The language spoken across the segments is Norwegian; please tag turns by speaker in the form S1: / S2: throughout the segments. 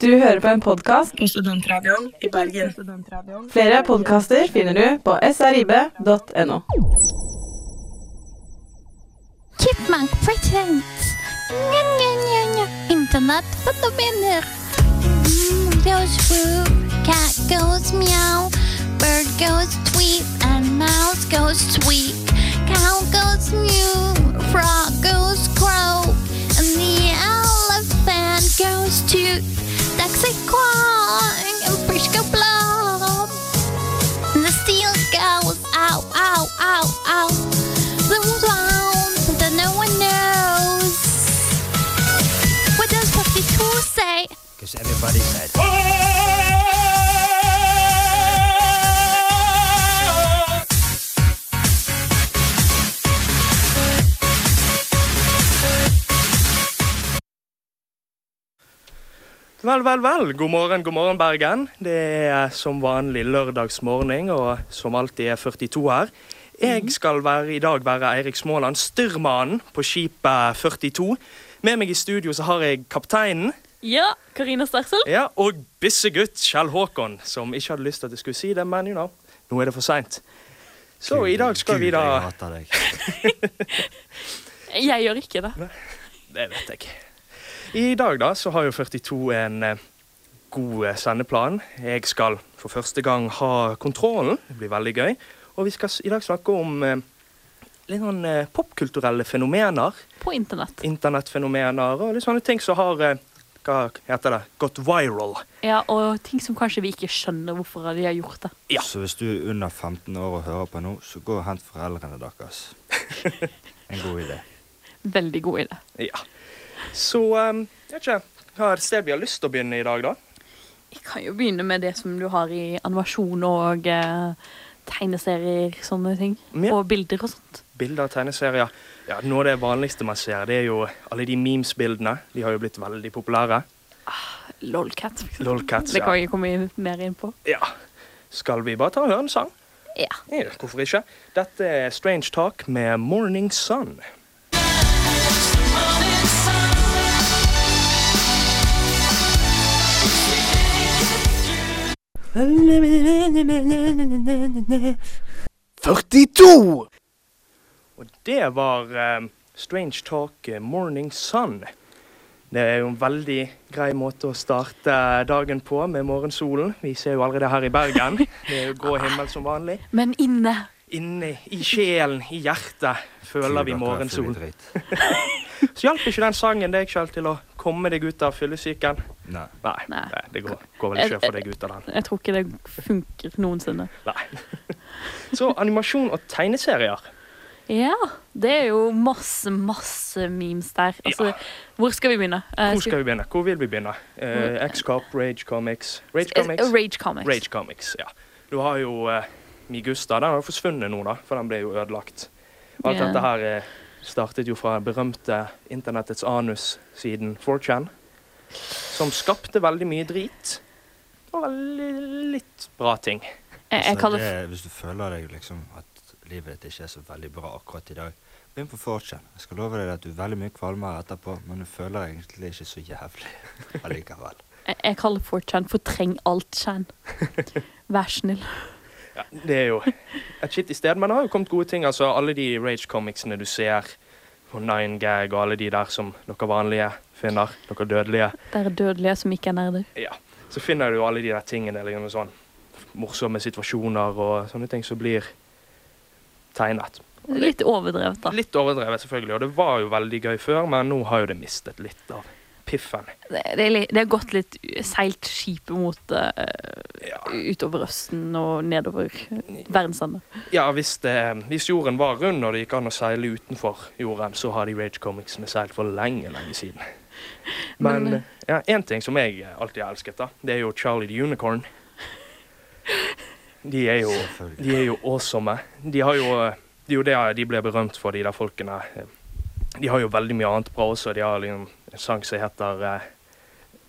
S1: Du hører på en podkast.
S2: på Studentradioen i Bergen.
S1: Flere podkaster finner du på srib.no.
S3: Chipmunk presents Nya, nya, nya, nya. Internetfenomener. Mm, Goes woo, cat goes meow, bird goes tweet, and mouse goes squeak. Cow goes mew, frog goes crow, and the elephant goes toot. Ducks a quack, and fish go blow. And the steel goes ow, ow, ow, ow. Blooms round that no one knows. What does 52 say?
S4: Because everybody said.
S5: Vel, vel, vel. God morgen, god morgen, Bergen. Det er eh, som vanlig lørdagsmorgen, og eh, som alltid er 42 her. Jeg skal være, i dag være Eirik Småland, styrmannen på skipet 42. Med meg i studio så har jeg kapteinen
S6: Ja, Karina Stersel.
S5: ja, og bissegutt Kjell Håkon, som ikke hadde lyst til at jeg skulle si det, men you know, nå er det for seint. Så i dag skal vi
S4: Gud, jeg
S5: da
S4: hater deg.
S6: Jeg gjør ikke det.
S5: Det vet jeg. I dag da, så har jo 42 en eh, god eh, sendeplan. Jeg skal for første gang ha kontrollen. Det blir veldig gøy. Og vi skal s- i dag snakke om eh, litt sånn eh, popkulturelle fenomener.
S6: På internett.
S5: Internettfenomener og litt sånne ting som har eh, hva heter det? Gått viral.
S6: Ja, Og ting som kanskje vi ikke skjønner hvorfor de har gjort det.
S5: Ja.
S4: Så hvis du er under 15 år og hører på nå, så gå og hent foreldrene deres. En god idé.
S6: Veldig god idé.
S5: Ja. Så um, jeg vet ikke. Hva er det sted vi har lyst til å begynne i dag, da?
S6: Jeg kan jo begynne med det som du har i animasjon og eh, tegneserier, sånne ting.
S5: Ja.
S6: Og bilder og sånt.
S5: Bilder av tegneserier. Ja, Noe av det vanligste man ser, det er jo alle de memes-bildene. De har jo blitt veldig populære.
S6: Lolcat. for eksempel.
S5: Lolcats,
S6: Det
S5: ja.
S6: kan jeg komme inn- mer inn på.
S5: Ja. Skal vi bare ta og høre en sang?
S6: Ja.
S5: Ja, hvorfor ikke? Dette er Strange Talk med Morning Sun. Og det var eh, Strange Talk eh, Morning Sun. Det er jo en veldig grei måte å starte dagen på med morgensolen. Vi ser jo allerede her i Bergen. Det er jo grå himmel som vanlig.
S6: Men inne.
S5: Inni, i sjelen, i hjertet, føler vi
S4: Gud, dere er
S5: morgensolen.
S4: fulle dritt.
S5: Så hjalp ikke den sangen deg selv til å komme deg ut av fyllesyken?
S4: Nei.
S5: Nei,
S6: Nei.
S5: nei, det går, går vel ikke for deg ut av den.
S6: Jeg tror ikke det funker noensinne.
S5: Nei. Så animasjon og tegneserier.
S6: Ja, det er jo masse, masse memes der. Altså, Hvor skal vi begynne? Eh,
S5: Hvor skal vi begynne? Hvor vil vi begynne? Eh, X-Cop, Rage Comics Rage Comics?
S6: Rage Comics.
S5: Rage Comics, ja. Du har jo eh, Migusta. Den har jo forsvunnet nå, da, for den ble jo ødelagt. Alt
S6: Ja.
S5: dette her eh, startet jo fra berømte internettets anus siden 4chan, som skapte veldig mye drit. Og veldig litt bra ting.
S6: Jeg, jeg
S4: Så
S6: kaller
S4: altså, det, er- hvis du føler deg liksom at livet ditt ikke er så veldig bra akkurat i dag, begynn på 4chan. Jeg skal love deg at du er veldig mye kvalmere etterpå, men du føler deg egentlig ikke så jævlig allikevel.
S6: Jeg, jeg kaller 4chan for 'treng alt-chan'. Vær snill.
S5: Ja, det er jo et skittig sted, men det har jo kommet gode ting. Altså, alle de Rage Comicsene du ser, og Nine Gag og alle de der som dere vanlige finner, dere dødelige.
S6: Dere dødelige som ikke er nerder.
S5: Ja, så finner du jo alle de der tingene, eller noe sånn morsomme situasjoner og sånne ting som blir tegnet.
S6: Litt overdrevet, da.
S5: Litt overdrevet selvfølgelig, og det var jo veldig gøy før, men nå har jo det mistet litt av piffen.
S6: Det, det, er li- det har gått litt seilt skipet mot eh,
S5: Ja,
S6: utover Østen og nedover verdenslandet.
S5: ja hvis, det, hvis jorden var rund og det gikk an å seile utenfor jorden, så har de Rage Comicsene seilt for lenge, lenge siden. Men,
S6: Men, eh,
S5: ja, en ting som jeg alltid har elsket da, det er jo Charlie the Unicorn. De er jo...
S4: Selvfølgelig.
S5: De er jo awesome. De har jo Det er jo det de ble berømt for, de der folkene. De har jo veldig mye annet bra også. De har liksom en sang som heter eh,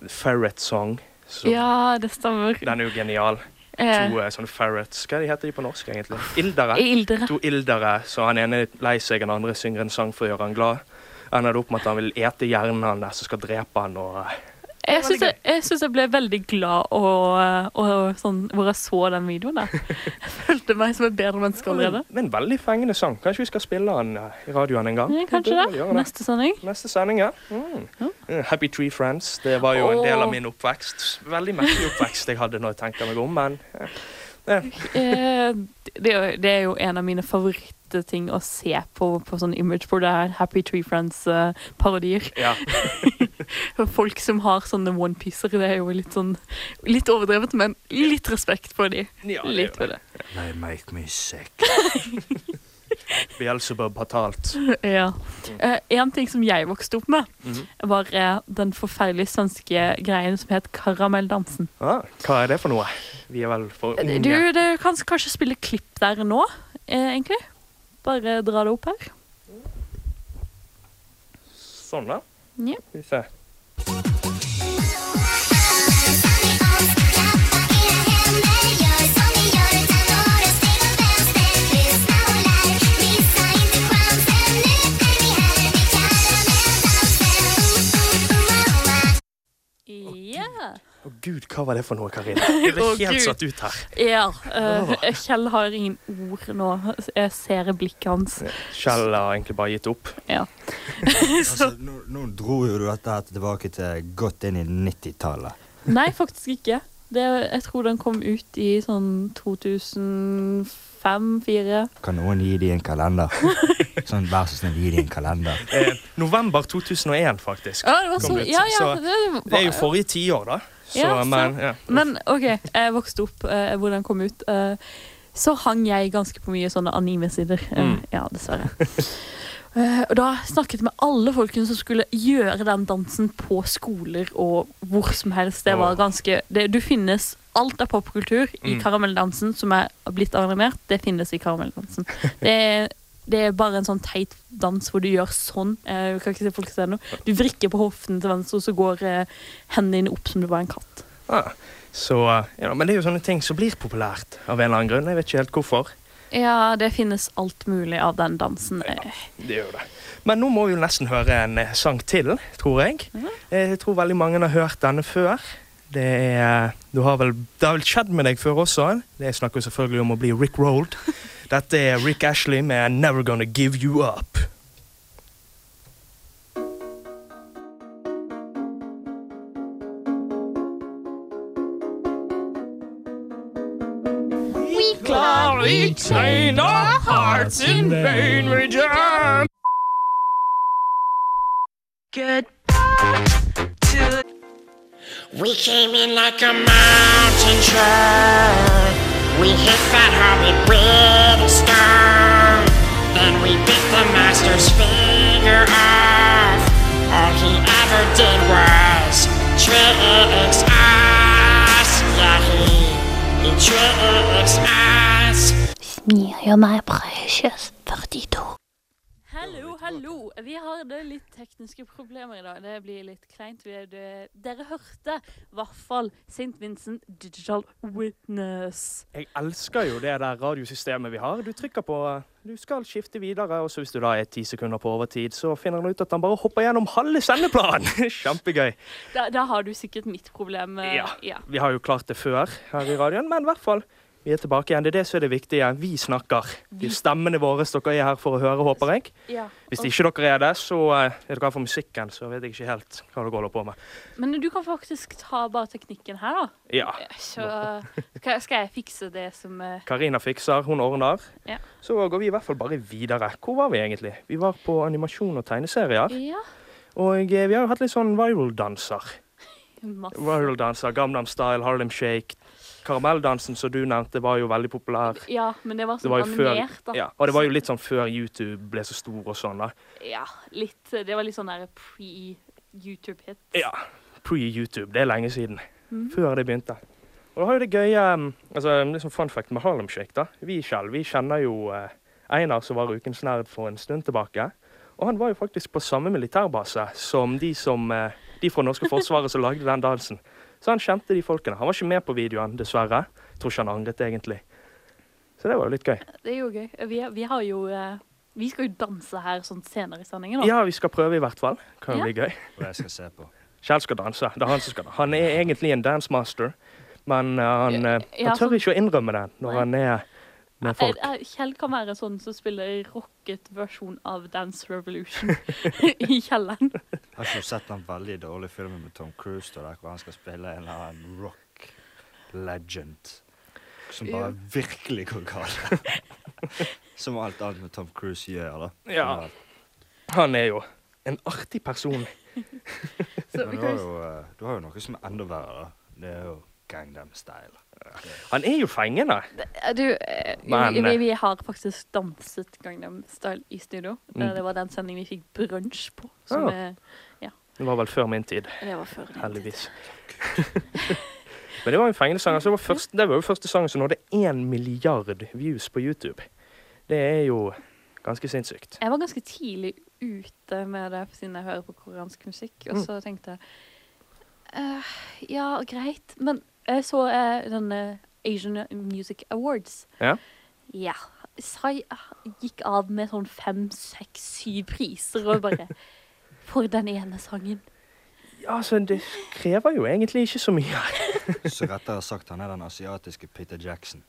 S5: Ferret Song. Så
S6: Ja, det stemmer.
S5: Den er jo genial.
S6: Eh,
S5: To eh, sånne ferrets Hva heter de på norsk, egentlig? Ildere.
S6: Ildere.
S5: To ildere. Så han ene er lei seg, den andre synger en sang for å gjøre han glad. Ender det opp med at han vil ete hjernen hans, som skal drepe han og eh,
S6: Jeg syns det,
S5: veldig
S6: jeg Jeg syns jeg ble veldig glad og, og sånn, hvor jeg så den videoen der. Jeg følte meg som et bedre menneske allerede.
S5: Men veldig fengende sang. Kanskje vi skal spille den eh, i radioen en gang?
S6: Ja, kanskje
S5: bør
S6: det.
S5: vi gjøre
S6: Neste sending.
S5: Neste sending, ja. Mm. Eh, Happy Tree Friends. Det var jo en del av min oppvekst. Veldig merkelig oppvekst jeg hadde når jeg tenker meg om, men eh,
S6: Eh, det, er jo- det er jo en av mine favorittting å se på på sånn image board. Det er Happy Tree Friends-parodier.
S5: ja.
S6: Folk som har sånne onepiecer. Det er jo litt sånn Litt overdrevet, men litt respekt for de.
S5: ja det
S6: Litt
S5: gjør
S6: for det.
S4: They make me sick.
S5: Beelzebub har talt.
S6: Ja. Eh, en ting som jeg vokste opp med,
S5: Mhm.
S6: var eh, den forferdelige svenske greien som het karamelldansen.
S5: Ah, hva er det for noe? Vi er vel for unge.
S6: Eh, Du, du kan kanskje spille klipp der nå, eh, egentlig. Bare dra det opp her.
S5: Sånn, da.
S6: Ja.
S5: Skal vi se.
S6: Ja.
S5: Å gud, hva var det for noe, Karina? Jeg ble
S6: Å,
S5: helt
S6: Gud.
S5: satt ut her.
S6: ja. eh, Kjell har ingen ord nå. Jeg ser blikket hans.
S5: Kjell har egentlig bare gitt opp.
S6: Ja.
S4: Altså, nå, nå dro jo du dette her tilbake til godt inn i 90-tallet.
S6: Nei, faktisk ikke. Det, jeg tror den kom ut i sånn 2005-2004.
S4: Kan noen gi de en kalender? Sånn, Vær så snill, gi de en kalender.
S5: Eh, november 2001, faktisk.
S6: Ja, det var så,
S5: Kom litt.
S6: ja, ja,
S5: Så Det er jo forrige tiår, da. Så,
S6: Ja,
S5: men
S6: sant.
S5: ja.
S6: Men OK, jeg vokste opp eh, hvor den kom ut. Eh, så hang jeg ganske på mye sånne anime-sider. Eh,
S5: Mm.
S6: Ja, dessverre. Eh, og da snakket jeg med alle folkene som skulle gjøre den dansen på skoler og hvor som helst. Det var
S5: Åh.
S6: ganske det, Du finnes Alt av popkultur i
S5: Mm.
S6: karamelldansen som er blitt animert, det finnes i karamelldansen. Det, er- det er bare en sånn teit dans hvor du gjør sånn. Eh, du kan ikke se folk se noe. Du vrikker på hoften til venstre, og så går eh, hendene dine opp som det var en katt.
S5: Ah, så, ja, men det er jo sånne ting som blir populært av en eller annen grunn. Jeg vet ikke helt hvorfor.
S6: Ja, det finnes alt mulig av den dansen. Eh,
S5: Det gjør det. Men nå må vi jo nesten høre en eh, sang til, tror jeg. Eh, Jeg tror veldig mange har hørt denne før. Det, er, du har vel, det har vel skjedd med deg før også. Det jeg snakker jo selvfølgelig om å bli Rick Rolled. Dette er Rick Ashley med 'Never Gonna Give You Up'.
S7: We came in like a mountain truck. We hit that horrid brittle storm. Then we bit the master's finger off. All he ever did was tricks us. Yeah, he, he tricks us.
S3: You're my precious 42.
S6: Hallo, hallo. Vi hadde litt tekniske problemer i dag. Det blir litt kleint. Vi er det- Dere hørte i hvert fall St. Vincent Digital Witness.
S5: Jeg elsker jo det der radiosystemet vi har. Du trykker på Du skal skifte videre, og så hvis du da er ti sekunder på overtid, så finner han ut at han bare hopper gjennom halve sendeplanen. Kjempegøy.
S6: Da, da har du sikkert mitt problem. eh,
S5: Ja.
S6: ja.
S5: Vi har jo klart det før her i radioen, men i hvert fall. Vi er tilbake igjen. Det er det som er det viktige. Vi snakker. Det er stemmene våre dere er her for å høre, håper jeg.
S6: ja.
S5: Hvis ikke dere er det, så eh, er dere her for musikken, så vet jeg ikke helt hva dere holder på med.
S6: Men du kan faktisk ta bare teknikken her, da.
S5: Ja.
S6: Så skal, skal jeg fikse det som eh,
S5: Karina fikser, hun ordner.
S6: Ja.
S5: Så går vi i hvert fall bare videre. Hvor var vi egentlig? Vi var på animasjon og tegneserier.
S6: Ja.
S5: Og eh, vi har jo hatt litt sånn viral-danser.
S6: Masse.
S5: Viral-danser, Gamdam Style, Harlem Shake. Karamelldansen som du nevnte, var jo veldig populær.
S6: Ja, men det var
S5: Det
S6: sånn
S5: var jo før,
S6: animert, da.
S5: ja, og det var jo litt sånn før YouTube ble så stor og sånn. da.
S6: Ja, litt. Det var litt sånn der pre-YouTube-hit.
S5: Ja, Pre-YouTube. Det er lenge siden. Før det begynte. Og da har jo det gøye um, altså liksom Fun fact med Harlem Shake. da. Vi selv, vi kjenner jo eh, Einar, som var Ukens nerd for en stund tilbake. Og han var jo faktisk på samme militærbase som de som, eh, de fra norske forsvaret som lagde den dansen. Så han kjente de folkene. Han var ikke med på videoen, dessverre. Jeg tror ikke han angret, egentlig. Så det var jo litt gøy.
S6: Det er jo gøy. Vi, vi har jo eh, Vi skal jo danse her sånn senere i sendingen. da.
S5: Ja, vi skal prøve, i hvert fall. Kan
S6: Ja.
S5: jo bli gøy.
S4: Og det skal jeg se på.
S5: Kjell skal danse. Det er Han som skal danse. Han er egentlig en dance master, men eh, han, eh,
S6: Ja,
S5: han tør
S6: sånn-
S5: ikke å innrømme det når
S6: Nei.
S5: han er med folk.
S6: Eh, eh, Kjell kan være sånn som spiller rocket versjon av Dance Revolution i kjelleren.
S4: Har ikke du sett den veldig dårlige filmen med Tom Cruise da, der hvor han skal spille en eller annen rock legend som bare virkelig går galt? som alt annet med Tom Cruise gjør, da.
S5: Ja. Han er jo en artig person.
S6: Så
S4: Men
S6: vi
S4: du har,
S6: kan jo
S4: jo, eh, du har jo noe som er enda verre, da. Det er jo Gangnam Style.
S5: Han er jo fengende.
S6: Eh, Du, eh,
S5: Men-
S6: vi, vi- vi har faktisk danset Gangnam Style i studio. Eh,
S5: Mm.
S6: Det var den sendingen vi fikk brunsj på. Som
S5: Ah.
S6: eh,
S5: Det var vel før min tid,
S6: det var før.
S5: heldigvis. Men det var en fengende sang. Altså, det, var første, det var jo første sangen som nådde én milliard views på YouTube. Det er jo ganske sinnssykt.
S6: Jeg var ganske tidlig ute med det siden jeg hører på koreansk musikk. Og
S5: Mm.
S6: så tenkte jeg eh, Ja, greit. Men jeg så eh, denne Asian Music Awards.
S5: Ja.
S6: Ja. Psy gikk av med sånn fem, seks, syv priser og bare For den ene sangen.
S5: Ja, altså, det krever jo egentlig ikke så mye.
S4: Så rettere sagt, han er den asiatiske Peter Jackson.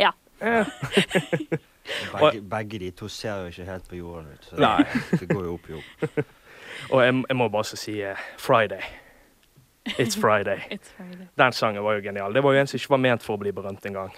S6: Ja.
S5: Eh,
S4: Begge, begge de to ser jo ikke helt på jorden ut. Så
S5: Nei.
S4: det går jo opp i opp.
S5: Og jeg, jeg må bare så si eh, Friday. It's Friday.
S6: It's Friday.
S5: Den sangen var jo genial. Det var jo en som ikke var ment for å bli berømt engang.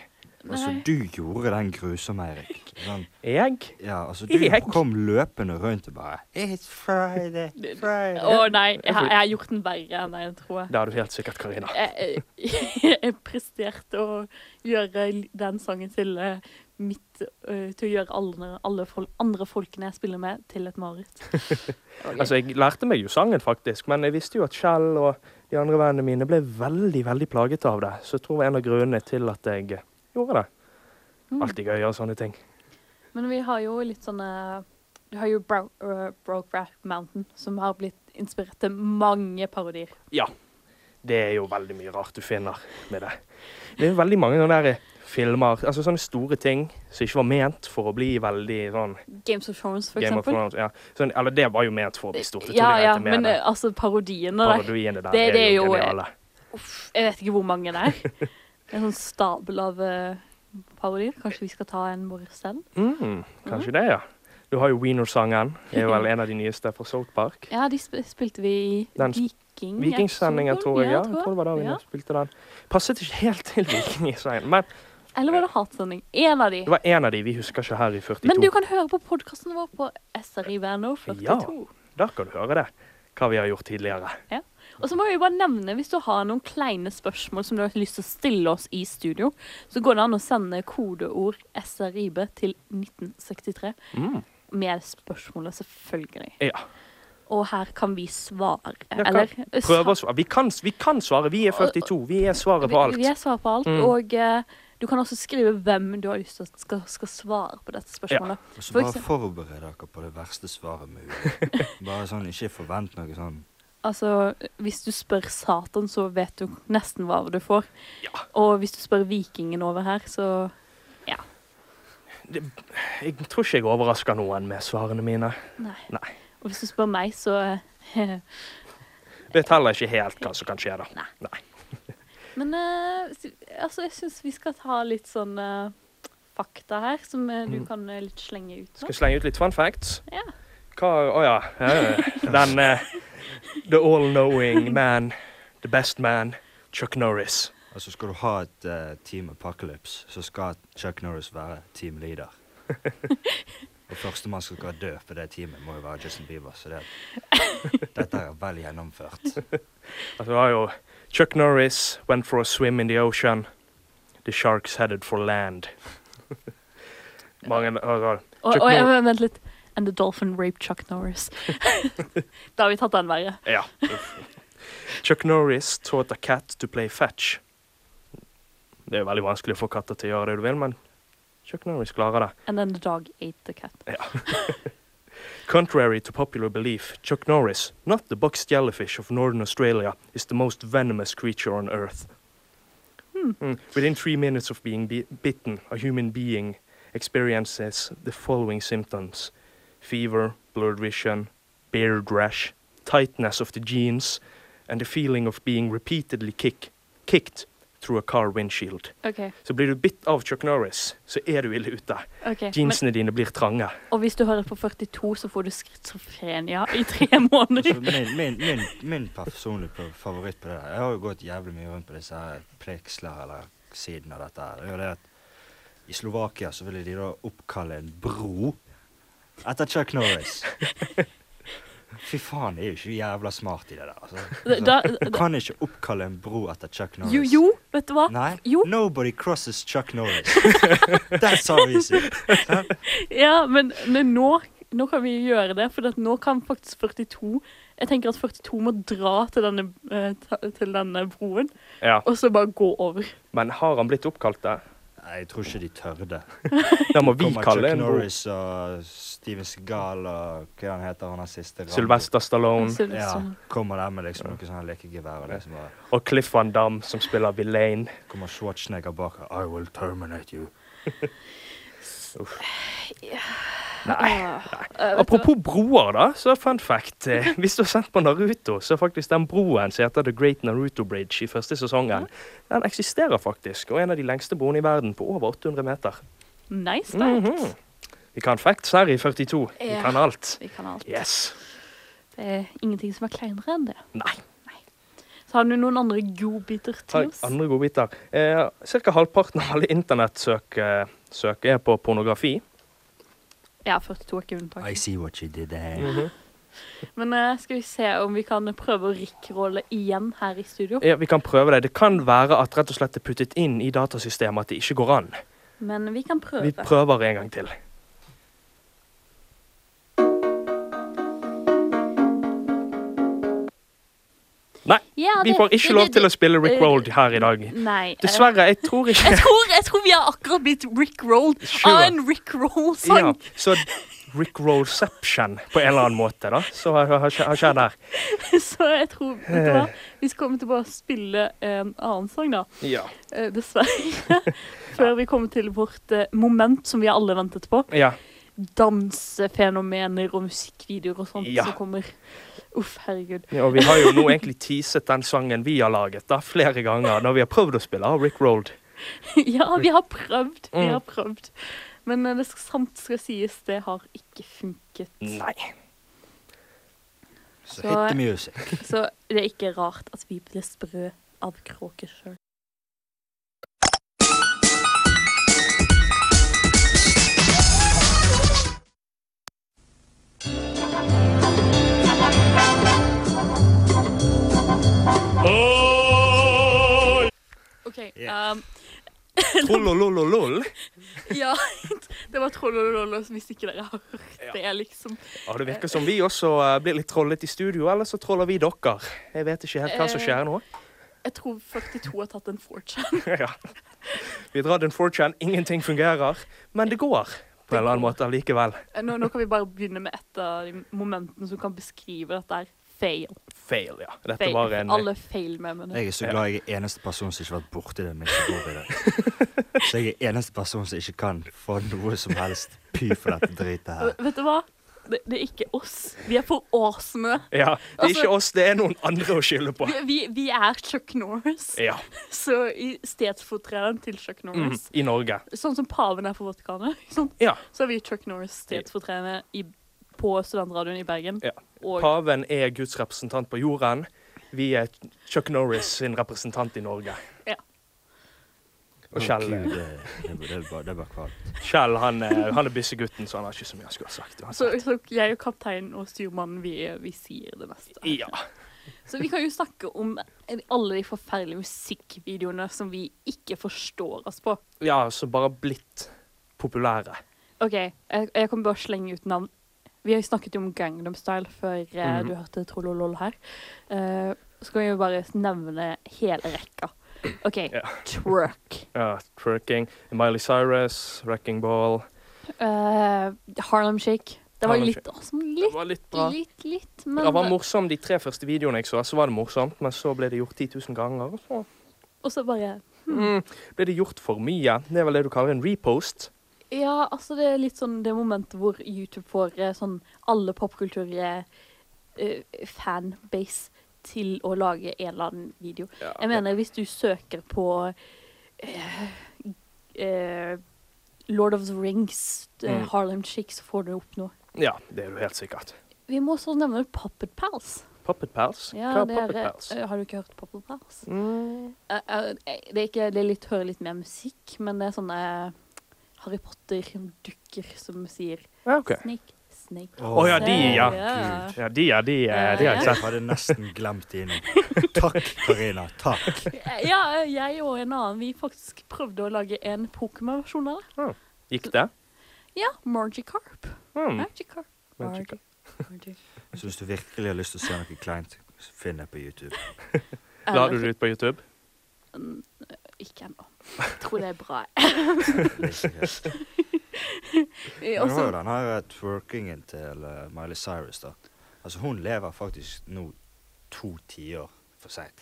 S4: Altså,
S6: Nei.
S4: du gjorde den grusomme, Eirik. Sånn,
S5: Jeg?
S4: ja, altså, du
S5: Erik.
S4: kom løpende rundt og bare It's Friday, Friday.
S6: Å nei, jeg, har- jeg har gjort den verre enn jeg tror.
S5: Det har du helt sikkert, Karina.
S6: jeg, jeg, jeg presterte å gjøre l- den sangen til eh, mitt eh, Til å gjøre alle, alle fol andre folkene jeg spiller med, til et mareritt.
S5: Altså, jeg lærte meg jo sangen, faktisk, men jeg visste jo at Kjell og de andre vennene mine ble veldig veldig plaget av det. Så jeg tror det var en av grunnene til at jeg eh, gjorde det. Alltid gøy å gjøre sånne ting.
S6: Mm. Men vi har jo litt sånne Du har jo Bro eh, Brokeback Mountain, som har blitt inspirert til mange parodier.
S5: Ja. Det er jo veldig mye rart du finner med det. Det er veldig mange sånne der filmer, altså sånne store ting som ikke var ment for å bli veldig sånn
S6: Games of Thrones, for
S5: Game of
S6: eksempel.
S5: Thrones. Ja. Sånn, eller det var jo ment for å bli stort. Jeg
S6: Ja,
S5: tror de
S6: ja,
S5: regnet med
S6: men
S5: det.
S6: eh, altså parodiene der
S5: Parodiene der
S6: det-
S5: er,
S6: det er jo,
S5: jo
S6: eh,
S5: geniale.
S6: Uff, Jeg vet ikke hvor mange det er. Det er en sånn stabel av eh, parodier. Kanskje vi skal ta en vår selv?
S5: Mm, kanskje det, ja. Du har jo Wiener-sangen. Det er vel en av de nyeste fra Salt Park.
S6: Ja, de sp spilte vi i
S5: Den sp-
S6: Viking.
S5: Vikingsendingen,
S6: episode.
S5: tror jeg. Ja, jeg tror det var da vi
S6: Mm, Ja.
S5: spilte den. Passet ikke helt til Vikingsendingen, men
S6: Eller var det Hatsending? En av de.
S5: det var en av de vi husker ikke her i 42.
S6: Men du kan høre på podkasten vår på SRIVNO42.
S5: Ja. Da kan du høre det. Hva vi har gjort tidligere.
S6: Og så må vi bare nevne, hvis du har noen kleine spørsmål som du har lyst til å stille oss i studio, så går det an å sende kodeord SRIB til 1963.
S5: Mm.
S6: Med spørsmålet, selvfølgelig.
S5: Ja.
S6: Og her kan vi svare.
S5: kan
S6: Eller
S5: Prøv å svare. Vi kan, vi kan svare. Vi er 42. Vi er svaret på
S6: Vi, vi
S5: alt.
S6: er svar på alt.
S5: Mm.
S6: Og eh, du kan også skrive hvem du har lyst til at skal, skal svare på dette spørsmålet.
S4: Og så
S6: For
S4: bare
S6: eksempel-
S4: forbered dere på det verste svaret mulig. Bare sånn, ikke forvent noe sånn
S6: Altså, hvis du spør Satan, så vet du nesten hva du får. Og hvis du spør vikingen over her, så
S5: Jeg tror ikke jeg overrasker noen med svarene mine.
S6: Nei.
S5: Nei.
S6: Og hvis du spør meg, så eh,
S5: Vet heller ikke helt hva som kan skje, da.
S6: Nei.
S5: Nei.
S6: Men eh, s- altså, jeg syns vi skal ta litt sånn eh, fakta her, som eh, du kan eh, litt slenge ut
S5: Mm. Skal
S6: nå.
S5: jeg slenge ut litt fun facts?
S6: Ja.
S5: Hva Å ja. eh, Den eh, The all-knowing man, the best man, Chuck Norris.
S4: Altså, skal du ha et eh, Team Apocalypse, så skal Chuck Norris være team leader. Og førstemann som skal dø på det teamet, må jo være Justin Bieber. Så det, dette er vel gjennomført.
S5: Altså, det var jo Chuck Norris went for a swim in the ocean. The sharks headed for land. Mange altså,
S6: Og,
S5: Chuck
S6: og jeg,
S5: Norris.
S6: men vent litt. And the dolphin raped Chuck Norris. da har vi tatt den verre.
S5: Ja. Chuck Norris taught a cat to play fetch. Det er jo veldig vanskelig å få katter til å gjøre det du vil, men Chuck Norris klarer det.
S6: And then the dog ate the cat.
S5: Contrary to popular belief, Chuck Norris, not the box jellyfish of northern Australia, is the most venomous creature on Earth. Mm. Within three minutes of being bi- bitten, a human being experiences the following symptoms fever, blurred vision, beard rash, tightness of the jeans, and the feeling of being repeatedly kick, kicked through a car windshield.
S6: OK.
S5: Så blir du bitt av Chuck Norris, så er du ille ute.
S6: ok. Men,
S5: Jeansene dine blir trange.
S6: og hvis du hører på 42, så får du schizofrenia i tre måneder.
S4: Så Altså, Min, min, min, min personlige pa- favoritt på det der Jeg har jo gått jævlig mye rundt på disse her pleksler eller siden av dette. her. Det er jo det at I Slovakia så ville de da oppkalle en bro etter Chuck Norris. Fy faen, det er jo ikke jævla smart i det der. Altså.
S6: Da-
S4: Du kan ikke oppkalle en bro etter Chuck Norris.
S6: Jo, jo, vet du hva?
S4: Nei.
S6: Jo.
S4: Nobody crosses Chuck Norris. That's how easy.
S6: Ja, men, men nå, nå kan vi gjøre det, for at nå kan faktisk 42 Jeg tenker at 42 må dra til denne, eh, ta- til denne broen,
S5: Ja.
S6: og så bare gå over.
S5: Men har han blitt oppkalt det?
S4: Nei, jeg tror ikke de tørde.
S5: Da må vi
S4: Kommer
S5: kalle
S4: Chuck
S5: en bro.
S4: Norris og Steven Seagal og hva han heter han er siste Rambo.
S5: Sylvester Stallone
S6: Så,
S4: Ja,
S6: så-
S4: kommer der med liksom noe sånn lekegevær og liksom bare
S5: og Cliff Van Damme som spiller Villain.
S4: Kommer Schwarzenegger bak og I will terminate you.
S5: Apropos broer, da, så fun fact. eh, Hvis du har sett på Naruto, så er faktisk den broen som heter The Great Naruto Bridge i første sesongen, den eksisterer faktisk, og er en av de lengste broene i verden på over 800 meter.
S6: Nice, da.
S5: Mhm. Vi kan facts her i 42. Vi
S6: Ja.
S5: kan alt.
S6: Vi kan alt.
S5: Yes.
S6: Det er ingenting som er kleinere enn det.
S5: Nei.
S6: Så har du noen andre godbiter
S5: Ta
S6: til oss?
S5: andre godbiter. Eh, Ca. halvparten av alle internettsøk eh, søk er på pornografi.
S6: Ja, 42 er ikke unntak.
S4: I see what you did there.
S6: Men eh, skal vi se om vi kan prøve å rickrolle igjen her i studio.
S5: Ja, vi kan prøve det. Det kan være at rett og slett det er puttet inn i datasystemet at det ikke går an.
S6: Men vi kan
S5: Vi
S6: prøve.
S5: prøver en gang til. Nei,
S6: Ja,
S5: vi
S6: det-
S5: får ikke
S6: det-
S5: lov
S6: det-
S5: til å spille Rick
S6: eh,
S5: Rolled her i dag.
S6: Nei. eh,
S5: Dessverre, jeg tror
S6: Jeg
S5: ikke
S6: tror, jeg tror vi har akkurat blitt rickrolled av
S5: Sure.
S6: en
S5: ja,
S6: rickroll-sang.
S5: Så Rick Rollception på en eller annen måte, da. Så har- har skje- har skjedd her.
S6: Så jeg tror vet du hva?
S5: Eh.
S6: Vi skal komme til å bare spille en annen sang, da.
S5: Ja.
S6: Eh, Dessverre. Før vi kommer til vårt eh, moment som vi alle ventet på.
S5: ja.
S6: Dansefenomener og musikkvideoer og sånt
S5: Ja.
S6: som kommer. Uff, herregud.
S5: Og vi har jo nå egentlig teaset den sangen vi har laget, da, flere ganger når vi har prøvd å spille av Rick Rolled.
S6: ja, vi har prøvd. Vi
S5: Mm.
S6: har prøvd. Men eh, det skal, sant skal sies, det har ikke funket.
S5: Nei.
S4: Så
S6: Så-
S4: hit the music.
S6: Så det er ikke rart at vi ble sprø av kråker sjøl. OK. Um,
S5: Trollolololol.
S6: ja, det var trollololo, hvis ikke dere har hørt det, liksom.
S5: Ja, Det virker som vi også eh, blir litt trollet i studio, eller så troller vi dere. Jeg vet ikke helt hva
S6: Eh,
S5: som skjer nå.
S6: Jeg tror 42 har tatt en 4chan.
S5: ja. Vi drar den 4chan, ingenting fungerer, men det går på en eller annen måte likevel.
S6: Eh, Nå, nå kan vi bare begynne med et av de momentene som kan beskrive dette her. Fail.
S5: Fail, ja. Dette
S6: fail.
S5: var en
S6: Alle fail-memene.
S4: Jeg er så glad jeg er eneste person som ikke har vært borti det. Men ikke bor i det. Så jeg er eneste person som ikke kan få noe som helst py for dette dritet her.
S6: Eh, Vet du hva? Det, det er ikke oss. Vi er for awesome.
S5: Ja, det er
S6: Altså-
S5: ikke oss, det er noen andre å skylde på.
S6: Vi, vi, vi er Chuck Norris.
S5: Ja,
S6: Så i stedsfortrederen til Chuck
S5: mm,
S6: Norris.
S5: I Norge.
S6: Sånn som paven er for vodkaene. ikke sant?
S5: Ja.
S6: Så er vi Chuck Norris stedsfortreder i- på studentradioen i Bergen.
S5: ja.
S6: Og
S5: Paven er Guds representant på jorden. Vi er Chuck Norris sin representant i Norge.
S6: Ja.
S5: Og Kjell,
S4: Gud, det, det, det, er bare- det er bare kvalmt.
S5: Kjell han, er- han er byssegutten, så han har ikke så mye han skulle ha sagt.
S6: så,
S5: uansett.
S6: så jeg og kapteinen og styrmannen, vi, vi sier det meste.
S5: Ja.
S6: Så vi kan jo snakke om alle de forferdelige musikkvideoene som vi ikke forstår oss på.
S5: ja, så bare blitt populære.
S6: OK, jeg, jeg kan bare slenge ut navn. Vi har jo snakket jo om Gangnam Style før
S5: Mhm.
S6: eh, du hørte Trollolol her. Eh, så kan vi jo bare nevne hele rekka. OK,
S5: Ja.
S6: Twerk.
S5: Ja, Twerking, Miley Cyrus, Wrecking Ball.
S6: Eh, Harlem Shake. Det var
S5: Harlem
S6: litt awesome.
S5: Det
S6: Litt,
S5: var litt bra.
S6: litt, litt.
S5: Det var
S6: Men
S5: morsom de tre første videoene jeg så, så var det morsomt, men så ble det gjort 10 000 ganger. og Så
S6: Og så bare
S5: mm, ble det gjort for mye. Det er vel det du kaller en repost.
S6: Ja, altså det er litt sånn det momentet hvor YouTube får eh, sånn alle popkultur eh, eh, fanbase til å lage en eller annen video.
S5: Ja,
S6: Jeg mener, hvis du søker på eh, eh, Lord of the Rings, eh,
S5: Mm.
S6: Harlem Shake, så får du opp noe.
S5: ja, det er du helt sikkert.
S6: Vi må også nevne Puppet Pals.
S5: Puppet Pals? Hva er
S6: det
S5: Puppet Pals?
S6: eh, har du ikke hørt Puppet Pals?
S5: Mm.
S6: Eh, eh, det er ikke, det er litt, hører litt mer musikk, men det er sånne eh, Harry Potter-dukker som sier
S5: Ja, OK.
S6: Snake, Snake.
S5: Å ja, de, ja.
S6: Ja.
S5: Ja, de, ja, de, eh, de har jeg
S6: Ja.
S4: Jeg
S5: sett.
S4: hadde nesten glemt de nå. Takk, Karina. Takk.
S6: Ja, jeg og en annen, vi faktisk prøvde å lage en Pokémon-versjon av det.
S5: Gikk det?
S6: Ja, Magikarp.
S5: Mm.
S6: Magikarp.
S5: Magikarp.
S6: Magikarp.
S4: Så Altså, hvis du virkelig har lyst til å se noe kleint, så finn det på YouTube.
S5: La du det ut på YouTube?
S6: Ikke ennå. Jeg tror det er bra.
S4: Det er sikkert.
S6: Eh,
S4: Men
S6: og
S4: det var
S5: altså-
S6: så-
S4: jo den her twerkingen til eh, Miley Cyrus, da. Altså, hun lever faktisk nå to tiår for seint.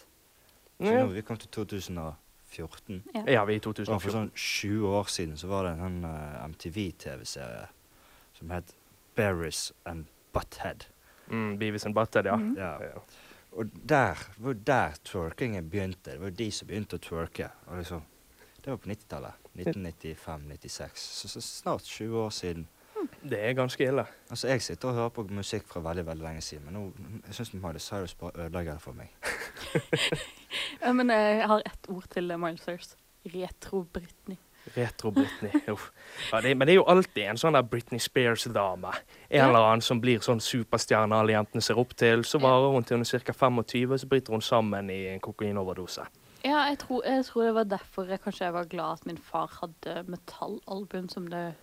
S4: Så
S5: Ja.
S4: nå vi kom til 2014.
S5: Ja, vi i
S4: Og for
S5: 2014.
S4: sånn 20 år siden så var det en eh, MTV-TV-serie som het Berries and Butthead.
S5: Mm, Beavis and Butthead, ja.
S4: Ja.
S5: Ja.
S4: Og der var der twerkingen begynte. Det var de som begynte å twerke. Og liksom, det var på 90-tallet. 1995-96. Så, så snart 20 år siden.
S5: Det er ganske ille.
S4: Altså, Jeg sitter og hører på musikk fra veldig veldig lenge siden, men nå, jeg syns Miley Cyrus bare ødelegger det for meg.
S6: Ja, men eh, jeg har ett ord til eh, Miley Cyrus. Retro-Britney.
S5: Retro-Britney. Uff. Ja, det, men det er jo alltid en sånn der Britney Spears-dame. En eller annen som blir sånn superstjerne alle jentene ser opp til. Så varer hun til hun er ca. 25, og så bryter hun sammen i en kokainoverdose.
S6: Ja, jeg tror, jeg tror det var derfor jeg kanskje jeg var glad at min far hadde metallalbum som det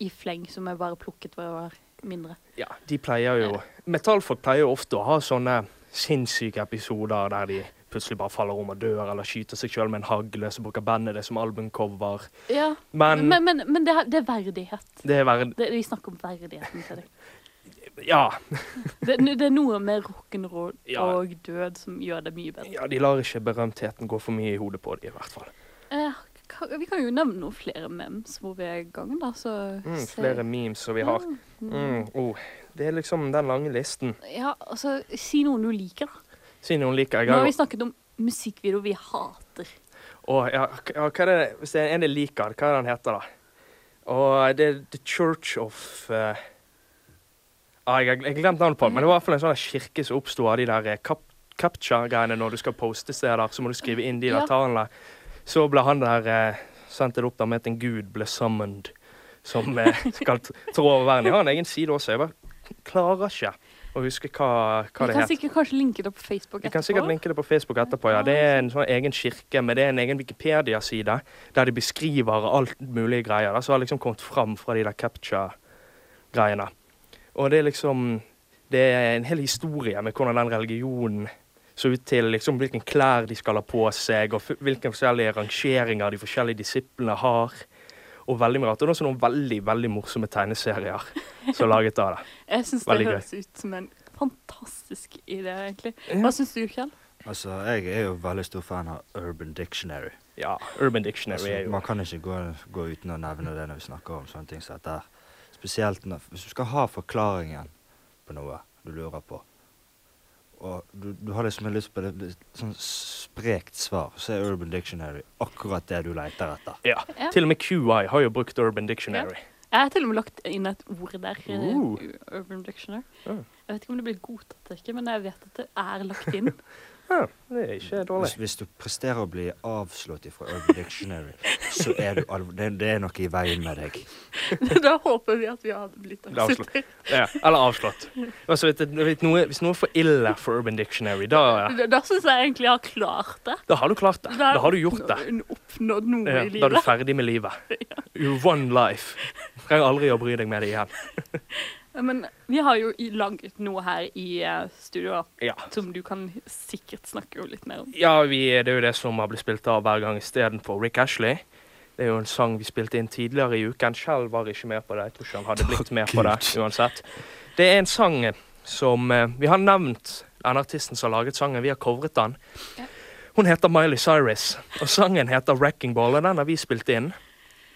S6: i fleng som jeg bare plukket da jeg var mindre.
S5: Ja, de pleier jo Metallfolk pleier jo ofte å ha sånne sinnssyke episoder der de plutselig bare faller om og dør, eller skyter seg sjøl med en hagle, så bruker bandet det som albumcover.
S6: Ja,
S5: Men-
S6: men, men, men, det, er- det er verdighet.
S5: Det er verre
S6: Det, vi snakker om verdigheten til deg.
S5: Ja.
S6: Det, det er noe med rock'n'roll
S5: Ja.
S6: og død som gjør det mye bedre.
S5: ja. De lar ikke berømtheten gå for mye i hodet på dem, i hvert fall.
S6: Eh, ka- vi kan jo nevne noen flere memes hvor vi er i gang, da. Så
S5: Mm,
S6: se-
S5: flere memes som vi har. Mm, oh, det er liksom den lange listen.
S6: Ja, altså, si noen du liker, da.
S5: Siden hun liker jeg
S6: Nå har
S5: har
S6: vi snakket om musikkvideoer vi hater.
S5: jo- Å, ja, k- ja, hva er det, Hvis det er en jeg liker, hva er den heter da? Og det er The Church of eh, ah, Jeg har gl- jeg har glemt navnet på den, men det var i hvert fall en sånn der kirke som oppsto av de der eh, cap captcha-greiene når du skal poste steder, så må du skrive inn de der
S6: Ja.
S5: tallene. Så ble han der eh, sendt det opp der med at en gud ble summoned, som eh, skal t- trå over verden. Jeg har en egen side også, jeg bare klarer ikke å huske hva, hva
S6: vi
S5: det
S6: kan
S5: het.
S6: sikkert kanskje linke det opp på Facebook
S5: Vi kan sikkert linke det på Facebook etterpå. ja. Det er en sånn egen kirke, men det er en egen Wikipedia-side der de beskriver alt mulige greier. da, Som har liksom kommet fram fra de der capture-greiene. Og det er liksom Det er en hel historie med hvordan den religionen så ut til liksom hvilken klær de skal ha på seg, og f- hvilke forskjellige rangeringer de forskjellige disiplene har. Og veldig mye rart. Og det er også noen veldig veldig morsomme tegneserier som er laget av det.
S6: Jeg syns det
S5: Veldig gøy.
S6: høres ut som en fantastisk idé, egentlig. Hva syns du, Kjell?
S4: Altså, Jeg er jo veldig stor fan av Urban Dictionary.
S5: Ja, Urban Dictionary er
S4: Altså,
S5: jo
S4: man kan ikke gå, gå uten å nevne det når vi snakker om sånne ting som dette. her. Spesielt når, hvis du skal ha forklaringen på noe du lurer på, og du, du har liksom lyst på det, det sånn sprekt svar, så er Urban Dictionary akkurat det du leter etter.
S5: ja.
S6: Ja.
S5: Til og med QI har jo brukt Urban Dictionary.
S6: Jeg har til og med lagt inn et ord der. i
S5: Uh.
S6: Urban Dictionary.
S5: Ja.
S6: Jeg vet ikke om det blir godtatt eller ikke, men jeg vet at det er lagt inn.
S5: Ja, det er ikke
S4: Hvis,
S5: dårlig.
S4: hvis du presterer å bli avslått ifra Urban Dictionary, så er du alv det, det er noe i veien med deg.
S6: da håper vi at vi hadde blitt
S5: er avslått.
S6: avsluttet.
S5: Ja, eller avslått. Altså, vet, du- vet, noe, hvis noe er for ille for Urban Dictionary, da,
S6: Da, da syns jeg egentlig jeg har klart det.
S5: da har du klart det. Da har du gjort det.
S6: oppnå- Oppnådd noe
S5: Ja,
S6: i
S5: da er du
S6: livet.
S5: ferdig med livet. You won life. Trenger aldri å bry deg med det igjen.
S6: Men vi har jo i- laget noe her i eh, studio
S5: Ja.
S6: som du kan sikkert snakke jo litt mer om.
S5: Ja, vi, det er jo det som har blitt spilt av hver gang istedenfor Rick Ashley. Det er jo en sang vi spilte inn tidligere i uken. Kjell var ikke med på det. Jeg tror ikke han hadde blitt med på det uansett. Det er en sang som eh, Vi har nevnt den artisten som har laget sangen. Vi har covret den. Hun heter Miley Cyrus, og sangen heter 'Wrecking Ball'. Og den har vi spilt inn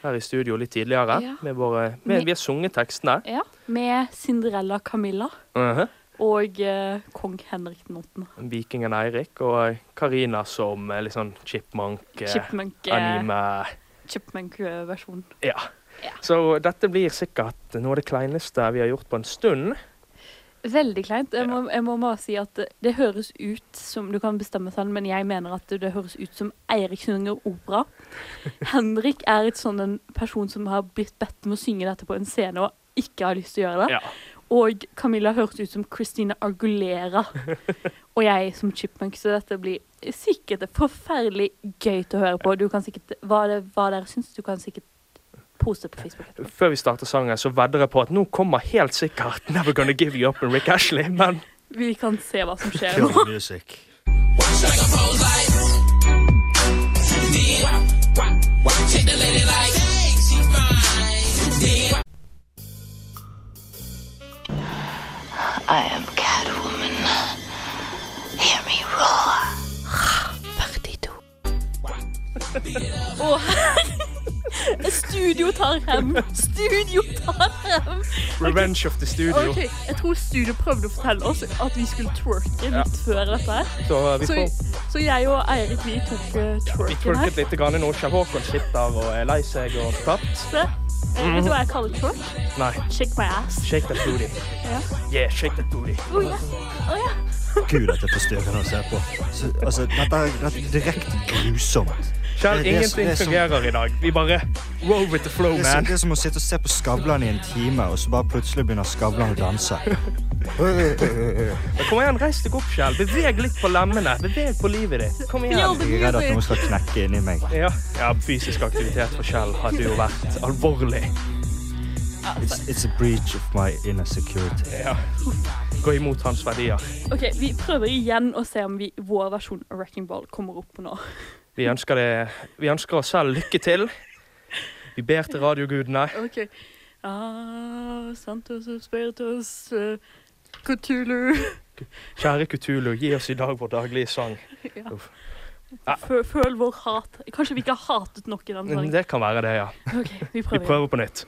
S5: her i studio litt tidligere.
S6: Ja.
S5: Med våre, med, vi har sunget tekstene.
S6: Ja, Med Cinderella Camilla.
S5: Mhm.
S6: og eh, kong Henrik den 8.
S7: Vikingen Eirik
S5: eh,
S7: og Karina som eh, litt sånn chipmunk, eh,
S6: Chipmunk, eh,
S7: anime.
S6: Chipmunk-versjon.
S7: Ja.
S6: Ja.
S7: Så dette blir sikkert noe av det kleineste vi har gjort på en stund.
S6: Veldig kleint. Jeg må, jeg må bare si at det- det høres ut som Du kan bestemme selv, men jeg mener at det høres ut som Eirik synger opera. Henrik er et sånn en person som har blitt bedt om å synge dette på en scene og ikke har lyst til å gjøre det.
S7: Ja.
S6: Og Camilla høres ut som Christina Argulera. Og jeg som chipmunk, så dette blir sikkert forferdelig gøy til å høre på. Du kan sikkert, hva, det, hva dere syns, du kan sikkert poste på Facebook. etterpå.
S7: Før vi starter sangen, så vedder jeg på at nå kommer helt sikkert 'Never Gonna Give You Up' med Rick Ashley. Men
S6: Vi kan se hva som skjer nå.
S4: Kill the music.
S8: I am Catwoman. Hear me roar. 42.
S6: Å, herre- Studio tar hem! Studio tar hem!
S7: 'Revenge of the Studio'.
S6: Ok, Jeg tror studio prøvde å fortelle oss at vi skulle twerke litt før dette. her.
S7: Så vi
S6: Så,
S7: får
S6: så jeg og Eirik vi tok eh,
S7: vi
S6: twerken her.
S7: twerket litt grann nå. Kjell Håkon sitter og er lei seg og tapt.
S6: Se, eh, Vet du hva jeg kaller twerk?
S7: Nei.
S6: Shake my ass.
S7: Shake that booty. Yeah, shake that booty.
S6: Å ja. Å ja.
S4: Gud, dette er forstyrrende å se på. Så, altså, dette, er- dette er direkte grusomt.
S7: Kjell,
S4: Det- det er så-
S7: ingenting
S4: det er så-
S7: fungerer i dag. Vi bare roll with the flow,
S4: Det er, så-
S7: man.
S4: det er som å sitte og se på Skavlan i en time, og så bare plutselig begynner Skavlan å danse.
S7: Kom igjen, reis deg opp, Kjell. Beveg litt på lemmene. Beveg på livet ditt. Kom igjen.
S4: Jeg er redd at noen skal knekke inni meg.
S7: Ja, ja fysisk aktivitet for Kjell hadde jo vært alvorlig.
S4: It's, it's a breach of my inner security.
S7: Ja. Gå imot hans verdier.
S6: Ok, Vi prøver igjen å se om vi, vår versjon av Wrecking Ball kommer opp nå.
S7: Vi ønsker, det, vi ønsker oss selv lykke til. Vi ber til radiogudene.
S6: Ok. Ah, Santos og Spiritus eh, Cthulhu.
S7: Kjære Kutulu, gi oss i dag vår daglige sang.
S6: Fø- Føl vår hat. Kanskje vi ikke har hatet nok
S5: Mm,
S6: i den sangen.
S7: Det kan være det, ja.
S6: Ok, vi
S7: Vi
S6: prøver. igjen.
S7: prøver på nytt.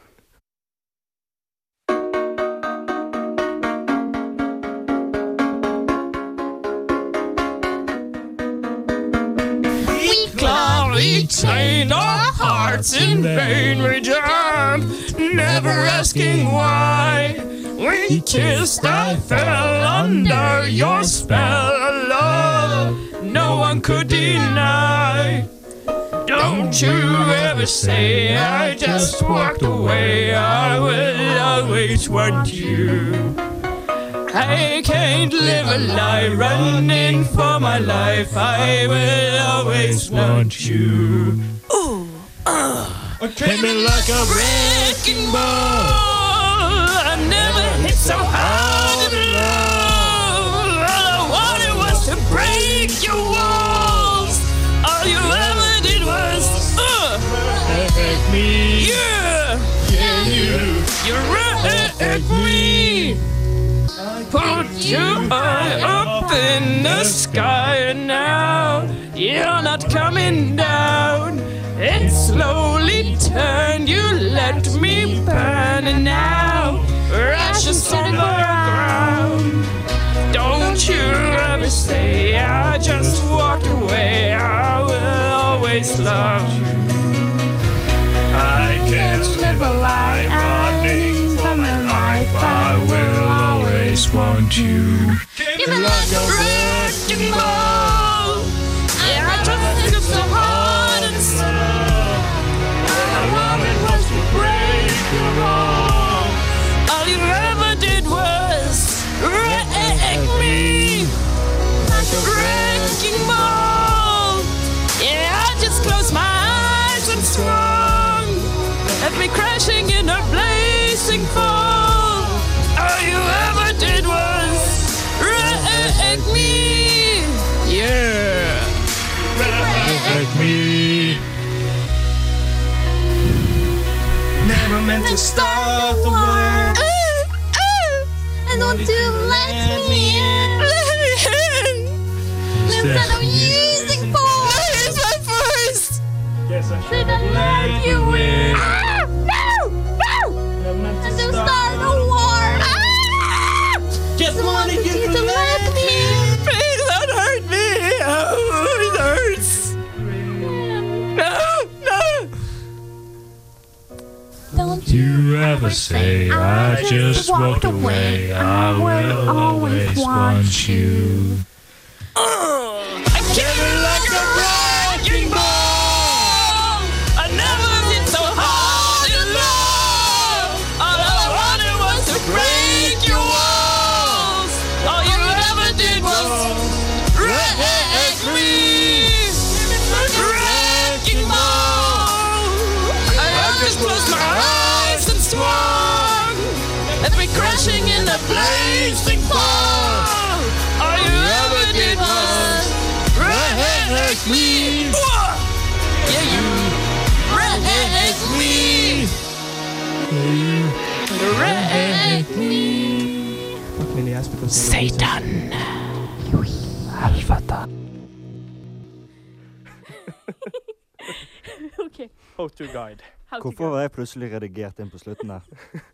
S3: We claw each
S7: chain our hearts in vain regard, never asking why. We kissed, I fell under your spell of love, no one could deny. Don't you ever say I just walked away, I will always want you. I can't live a lie running for my life. I will always want you. Came in like a wrecking ball. I never hit so hard in love. All I wanted was to break your walls. All you ever did was uh, me. Yeah, you wrecked me. Put your eye up in the sky and now. You're not coming down. It slowly turned. You let me burn and now. Ashes on the ground. Don't you ever say I just walked away. I will always love you. I can't live a lie running for my life. I will always want you. Give me like a wrecking ball. Yeah, I just hit so hard and slow. All I wanted was to break your wall. All you ever did was wreck me like a wrecking ball. Yeah, I just closed my eyes and swung. Left me crashing in a blazing fall. All you ever did was wreck me. Yeah. Wreck me. Never meant to start the world.
S3: Oh, And don't you let me in. Instead of using force. Here's my force. Did I let you in? Ah, no! No! And to start a war. Ah! Just wanted
S9: never say I just walked away. I will always want you.
S7: I kicked it like a wrecking ball. I never hit so hard in love. All I wanted was to break your walls. All you ever did was wreck me. Wrecking ball. I just closed my eyes and swung. And we crashing in the blazing fall. All you ever did was wreck me. Yeah, you wreck me. Wreck me.
S6: OK.
S5: How to guide.
S6: How to
S4: Hvorfor
S6: go.
S4: var jeg plutselig redigert inn på slutten der?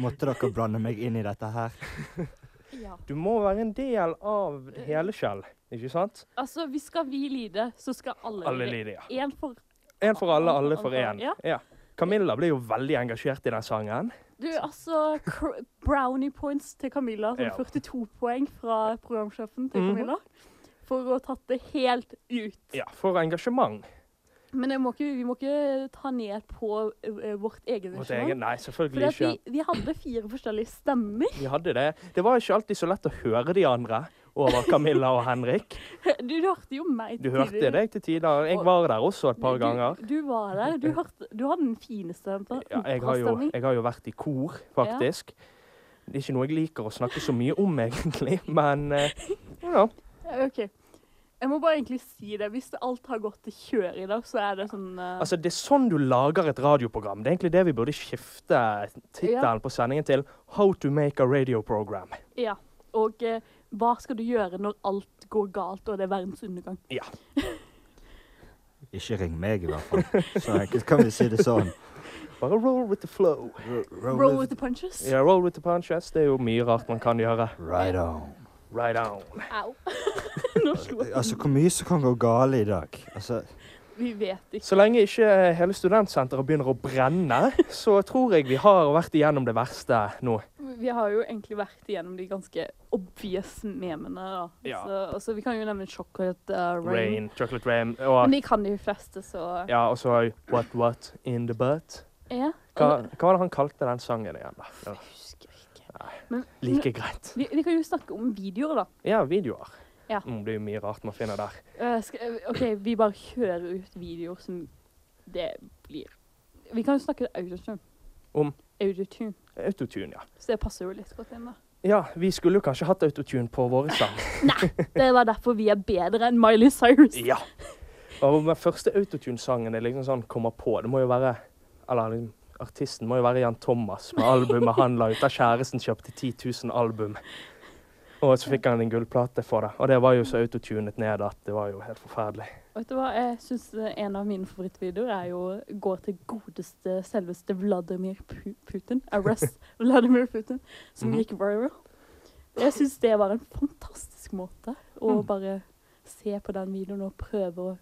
S4: Måtte dere blande meg inn i dette her?
S6: Ja.
S5: Du må være en del av hele Kjell, ikke sant?
S6: Altså, hvis skal vi lide, så skal alle,
S5: Alle lider, ja.
S6: En for
S5: En for alle, alle for
S6: Ja.
S5: én. Ja. Camilla ble jo veldig engasjert i den sangen.
S6: Du, altså cr Brownie points til Camilla. Sånn
S5: Ja.
S6: 42 poeng fra programsjefen til
S5: Mhm.
S6: Camilla. For å ha tatt det helt ut.
S5: Ja, For engasjement.
S6: Men jeg må ikke, vi må ikke ta ned på eh, vårt eget
S5: Vårt
S6: engasjement.
S5: eget Nei, selvfølgelig
S6: For
S5: ikke.
S6: vi, vi hadde fire forskjellige stemmer.
S5: Vi hadde det. Det var ikke alltid så lett å høre de andre over Camilla og Henrik.
S6: Du hørte jo meg
S5: Du hørte deg til tider. Jeg var der også et par ganger.
S6: Du, du var der. Du, hørte, du hadde den fineste
S5: Ja, jeg, har jo,
S6: operastemning.
S5: jeg har jo vært i kor, faktisk. Det er ikke noe jeg liker å snakke så mye om, egentlig, men eh, ja.
S6: Ja, OK. Jeg må bare egentlig si det. Hvis alt har gått til kjør i dag, så er det sånn eh,
S5: Altså, det er sånn du lager et radioprogram. Det er egentlig det vi burde skifte
S6: Ja.
S5: tittelen på sendingen til. How to make a radio program.
S6: Ja. Og eh, hva skal du gjøre når alt går galt og det er verdens undergang?
S4: Ikke ring meg, i hvert fall. Så enkelt kan vi si det sånn.
S5: Bare roll with the flow.
S6: Roll with the punches.
S5: Ja, roll with the punches. Det er jo mye rart man kan gjøre.
S4: Right on.
S5: Right on.
S6: Au. Nå slo jeg.
S4: Altså, hvor mye som kan gå gale i dag? Altså,
S6: Vi vet ikke.
S5: Så lenge ikke eh, hele studentsenteret begynner å brenne, så tror jeg vi har vært igjennom det verste nå.
S6: Vi har jo egentlig vært igjennom de ganske obvious memene. da.
S5: Ja.
S6: Så, og så vi kan jo nevne Chocolate uh, Rain.
S5: Rain, chocolate rain, og
S6: Men de kan de fleste, så
S5: Ja, og så What What In The Butt.
S6: Ja.
S5: Hva, hva var det han kalte den sangen igjen, da? Det var
S6: Jeg husker ikke. Men
S5: Like greit.
S6: vi, vi kan jo snakke om videoer, da.
S5: Ja, videoer.
S6: Ja.
S5: Mm, det er jo mye rart man finner der.
S6: Eh, skal, OK, vi bare kjører ut videoer som det blir. Vi kan jo snakke autotune.
S5: Om?
S6: Autotune.
S5: Autotune, ja.
S6: Så det passer jo litt godt inn, da.
S5: Ja, vi skulle jo kanskje hatt autotune på våre sang.
S6: Det var derfor vi er bedre enn Miley Cyrus.
S5: Ja. Og den første autotune-sangen er liksom sånn kommer på. Det må jo være Eller liksom, artisten må jo være Jan Thomas med albumet han la ut der kjæresten kjøpte 10 000 album. Og så fikk han en gullplate for det. Og det var jo så autotunet ned at det var jo helt forferdelig.
S6: Vet du hva, jeg syns en av mine favorittvideoer er jo går til godeste, selveste Vladimir Pu- Putin. Arrest Vladimir Putin, som
S5: Mhm.
S6: gikk viral. Jeg syns det var en fantastisk måte å
S5: Mm.
S6: bare se på den videoen og prøve å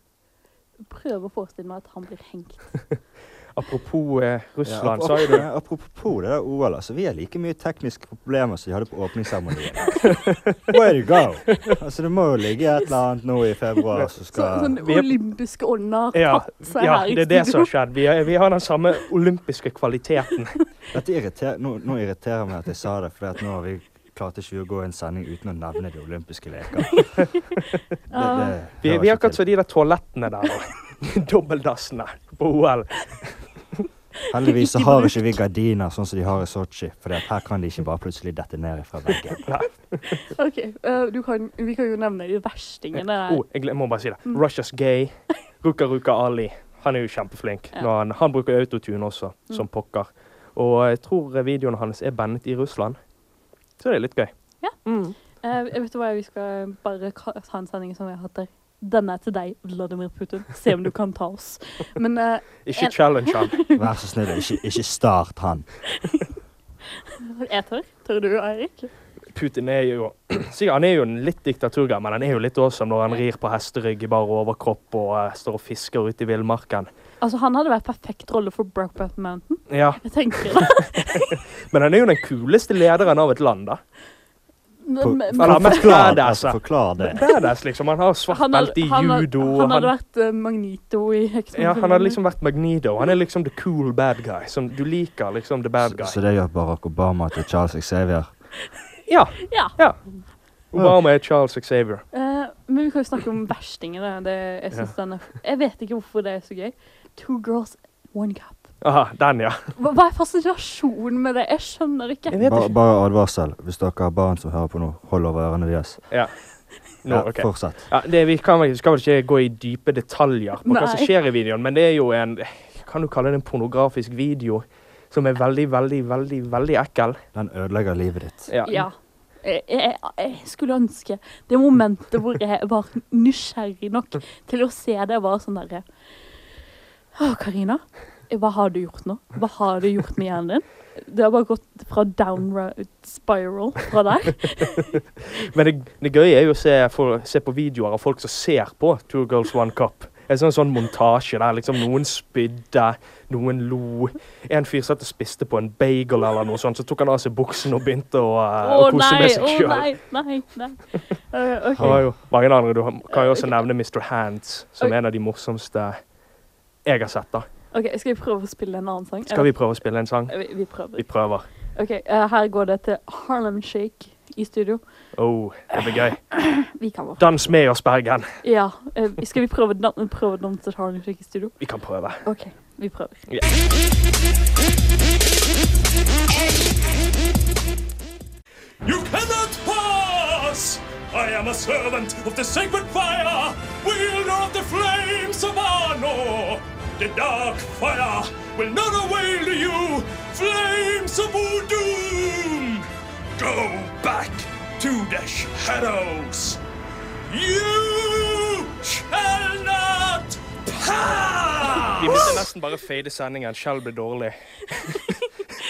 S6: Prøve å forestille meg at han blir hengt.
S5: Apropos eh,
S4: ja,
S5: Russland,
S4: ap-
S5: så er jo det
S4: ap- Apropos det der OL, altså. Vi har like mye tekniske problemer som vi hadde på åpningsseremonien. Way to go! Altså, det må jo ligge et eller annet nå i februar som
S6: Så,
S4: skal
S6: sånn
S5: Vi er-
S6: olympiske ånden har
S5: Ja,
S6: tatt seg
S5: ja,
S6: her i
S5: det er det som
S6: studio.
S5: har skjedd. Vi, er, vi har den samme olympiske kvaliteten.
S4: Dette irriterer, nå, nå irriterer meg at jeg sa det, for at nå har vi klarte ikke vi å gå en sending uten å nevne de olympiske leker. Det,
S6: Ah.
S5: Vi,
S4: det hører
S5: vi er
S4: ikke
S5: akkurat
S4: til.
S5: som de der toalettene der. og Dobbeldassene på OL.
S4: Heldigvis så har ikke vi gardiner sånn som de har i Sotsji, for her kan de ikke bare plutselig dette ned fra veggen.
S6: Ok, eh, du kan, Vi kan jo nevne de verstingene. der.
S5: Oh, jeg glem- må bare si det. Russia's gay. Ruka Ruka Ali. Han er jo kjempeflink.
S6: Ja. Mm.
S5: Når han, han bruker autotune også, som pokker. Og jeg tror videoene hans er bandet i Russland. Så det er litt gøy.
S6: Eh, jeg vet du hva, vi skal bare ka- ta en sending som vi har hatt der. Denne er til deg, Vladimir Putin. Se om du kan ta oss. Men eh,
S5: Ikke
S6: En-
S5: challenge han.
S4: Vær så snill, ikke, ikke start han.
S6: jeg tør. Tør du, Eirik?
S5: Putin er jo sikkert, Han er jo en litt diktaturgammel. Han er jo litt awesome når han rir på hesterygg i bar overkropp og eh, står og fisker ute i villmarken.
S6: Altså, han hadde vært perfekt rolle for Brokeback Mountain.
S5: Ja,
S6: Jeg tenker det.
S5: Men han er jo den kuleste lederen av et land, da.
S6: Men- men-
S5: Eller mest
S4: Forklar,
S5: badass,
S4: altså,
S5: da.
S4: forklar det.
S5: Badass, liksom. Han har svart
S6: han hadde-
S5: belte i
S6: han hadde-
S5: judo.
S6: Han hadde vært eh, Magneto i Hexman.
S5: ja, han hadde liksom vært Magneto. Han er liksom the cool bad guy. Som du liker liksom the bad
S4: Så,
S5: guy.
S4: så det gjør Barack Obama til Charles Xavier.
S5: Ja,
S6: Ja.
S5: ja. Obama er Charles Xavier.
S6: Eh, men vi kan jo snakke om verstingene. Det, jeg, synes den er, jeg vet ikke hvorfor det er så gøy. Two girls, one cup.
S5: Aha, den, ja.
S6: Hva, hva er fascinasjonen med det? Jeg skjønner ikke.
S5: Jeg vet
S4: Bare,
S5: ikke.
S4: bare advarsel hvis dere har barn som hører på nå, hold over ørene deres.
S5: Ja. Nå,
S4: Ja,
S5: ok.
S4: Fortsett.
S5: Ja, det, vi kan vel, skal vel ikke gå i dype detaljer på hva som
S6: Nei.
S5: skjer i videoen, men det er jo en Kan du kalle det en pornografisk video? Som er veldig, veldig, veldig veldig ekkel.
S4: Den ødelegger livet ditt.
S6: Ja. Jeg, jeg, jeg skulle ønske det momentet hvor jeg var nysgjerrig nok til å se det, var sånn derre Å, Karina. Hva har du gjort nå? Hva har du gjort med hjernen din? Det har bare gått fra downroad spiral fra der.
S5: Men det, det gøye er jo å se, for, se på videoer av folk som ser på Two Girls One Cup. En sånn, sånn montasje der liksom noen spydde, noen lo. En fyr satt og spiste på en bagel eller noe sånt, så tok han av seg buksen og begynte å, eh,
S6: Å
S5: å kose
S6: nei,
S5: med seg
S6: å
S5: sjøl.
S6: nei, nei, nei. Eh, ok.
S5: Han har jo mange andre. Du kan jo også nevne Mr. Hands, som er en av de morsomste jeg har sett. da.
S6: ok, skal vi prøve å spille en annen sang?
S5: Skal vi prøve å spille en sang?
S6: Eh, Vi, vi prøver.
S5: Vi prøver.
S6: Ok, eh, her går det til Harlem Shake i studio.
S5: Oh, det blir gøy.
S6: Vi kan være.
S5: Dans med oss, Bergen.
S6: Ja, eh, skal vi prøve dan- prøve å danse til Harlem Shake i studio?
S5: Vi kan prøve.
S6: Ok, vi prøver.
S9: You cannot pass! I am a servant of the sacred fire, wielder of the flames of Arno. The dark fire will not avail you, flames of Doom. Go back to the shadows. You shall not
S5: Vi
S9: pass!
S5: måtte nesten bare fade sendingen. Skjell ble dårlig.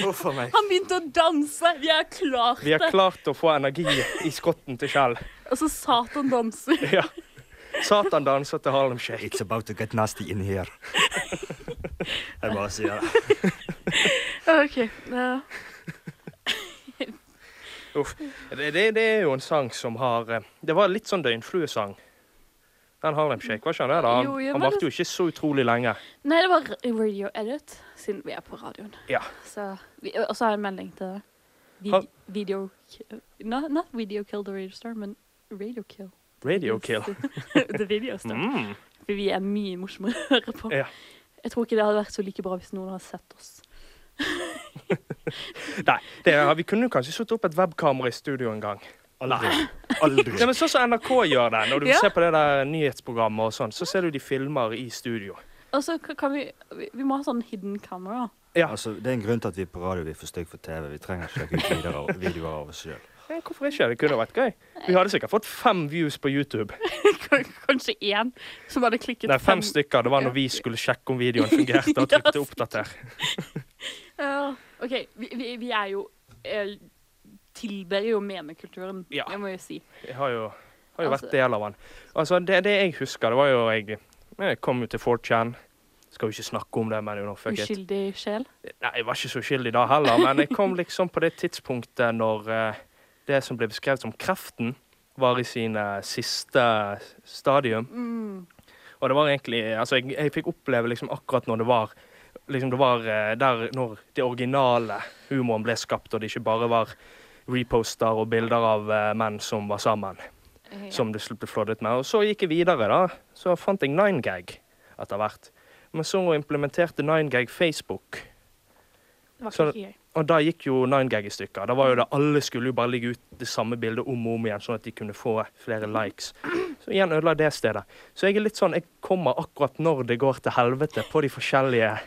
S5: Huff a meg.
S6: Han begynte å danse! Vi har klart
S5: Vi har
S6: det!
S5: klart å få energi i skotten til Kjell.
S6: Altså, Satan danser.
S5: Ja. Satan danser til Harlem Shake.
S4: It's about to get nasty in here. Jeg bare sier det.
S6: Ok, eh,
S5: Uff. Det, det, det er jo en sang som har eh, Det var litt sånn døgnfluesang. Den Harlem Shake, var ikke han det? da?
S6: Jo,
S5: Han,
S6: ja,
S5: han
S6: men
S5: varte jo ikke så utrolig lenge.
S6: nei, det var Radio Edit, siden vi er på radioen.
S5: Ja.
S6: Så, vi, og så har jeg en melding til deg.
S5: Har-
S6: Vid, video... Not, not video kill the radio star, men radio kill.
S5: Radio Kill.
S6: the video star.
S5: Mm.
S6: For vi er mye morsommere å høre på.
S5: Ja.
S6: Jeg tror ikke det hadde vært så like bra hvis noen hadde sett oss.
S5: Nei, det, vi kunne jo kanskje satt opp et webkamera i studio en gang.
S4: Aldri. Aldri.
S5: Nei, men Sånn som NRK gjør det. Når du
S6: Ja.
S5: ser på det der nyhetsprogrammet, og sånn, så ser du de filmer i studio.
S6: Og så k- kan vi, vi Vi må ha sånn hidden camera.
S4: Altså, det er en grunn til at vi på radio vi er for stygge for TV. Vi trenger ikke sjekke ut videoer- videoer av oss sjøl.
S5: Eh, Hvorfor ikke? Det kunne vært gøy. Vi hadde sikkert fått fem views på YouTube.
S6: K- Kanskje én som hadde klikket
S5: Nei, fem stykker. Det var når vi skulle sjekke om videoen fungerte, og
S6: Ja,
S5: trykte 'oppdater'.
S6: Ja, OK, vi, vi, vi er jo eh, Tilber jo memekulturen,
S5: Ja.
S6: jeg må jo si.
S5: Jeg har jo, har jo
S6: Altså-
S5: vært del av den. Altså, det, det jeg husker, det var jo jeg, jeg kom jo til 4chan. Skal jo ikke snakke om det, men you know, fuck it.
S6: Uskyldig sjel.
S5: Nei, jeg var ikke så uskyldig da heller, men jeg kom liksom på det tidspunktet når eh, det som ble beskrevet som kreften, var i sine siste stadium. Og det var egentlig Altså, jeg, jeg fikk oppleve liksom akkurat når det var Liksom det var eh, der når det originale humoren ble skapt, og det ikke bare var reposter og bilder av eh, menn som var sammen, som det sl- ble flåddet med. Og så gikk jeg videre, da. Så fant jeg 9gag etter hvert. Men så implementerte 9gag Facebook.
S6: Det var
S5: så-
S6: ikke gøy.
S5: Og da gikk jo 9gag i stykker. Da var jo det Alle skulle jo bare ligge ut det samme bildet om og om igjen, sånn at de kunne få flere likes. Så igjen ødela det stedet. Så jeg er litt sånn Jeg kommer akkurat når det går til helvete på de forskjellige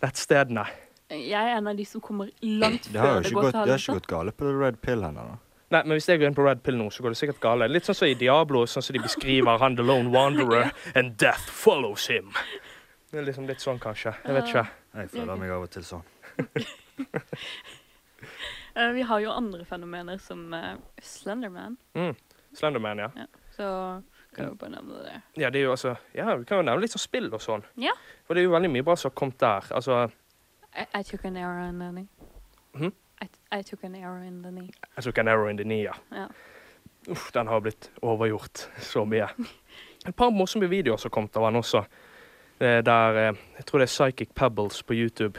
S5: nettstedene.
S6: Jeg er en av de som kommer langt
S4: Det altså.
S6: før
S4: har jo
S6: det
S4: ikke
S6: går
S4: gått,
S6: til
S4: det har ikke
S6: helvete.
S4: gått gale på Red Pill ennå. da.
S5: Nei, men hvis jeg går inn på Red Pill nå, så går det sikkert gale. Litt sånn som i Diablo, sånn som de beskriver han the lone wanderer, and death follows him. Det er liksom litt sånn, kanskje. Jeg vet ikke.
S4: Jeg føler meg av og til sånn.
S6: Eh, vi har jo andre fenomener som eh, Slenderman,
S5: Mm. Slenderman, ja.
S6: så kan vi bare nevne det.
S5: Ja, det er jo altså, ja, Vi kan jo nevne litt sånn spill og sånn.
S6: Ja.
S5: For det er jo veldig mye bra som har kommet der. Altså,
S6: I, I took an arrow in the knee.
S4: Hm?
S5: Mhm.
S6: I, t- I took an arrow in the knee.
S5: jeg tok an arrow in the knee, ja.
S6: Ja.
S5: Uff, den har blitt overgjort så mye. Et par morsomme videoer som kom av han også. Eh, Der eh, Jeg tror det er Psychic Pebbles på YouTube.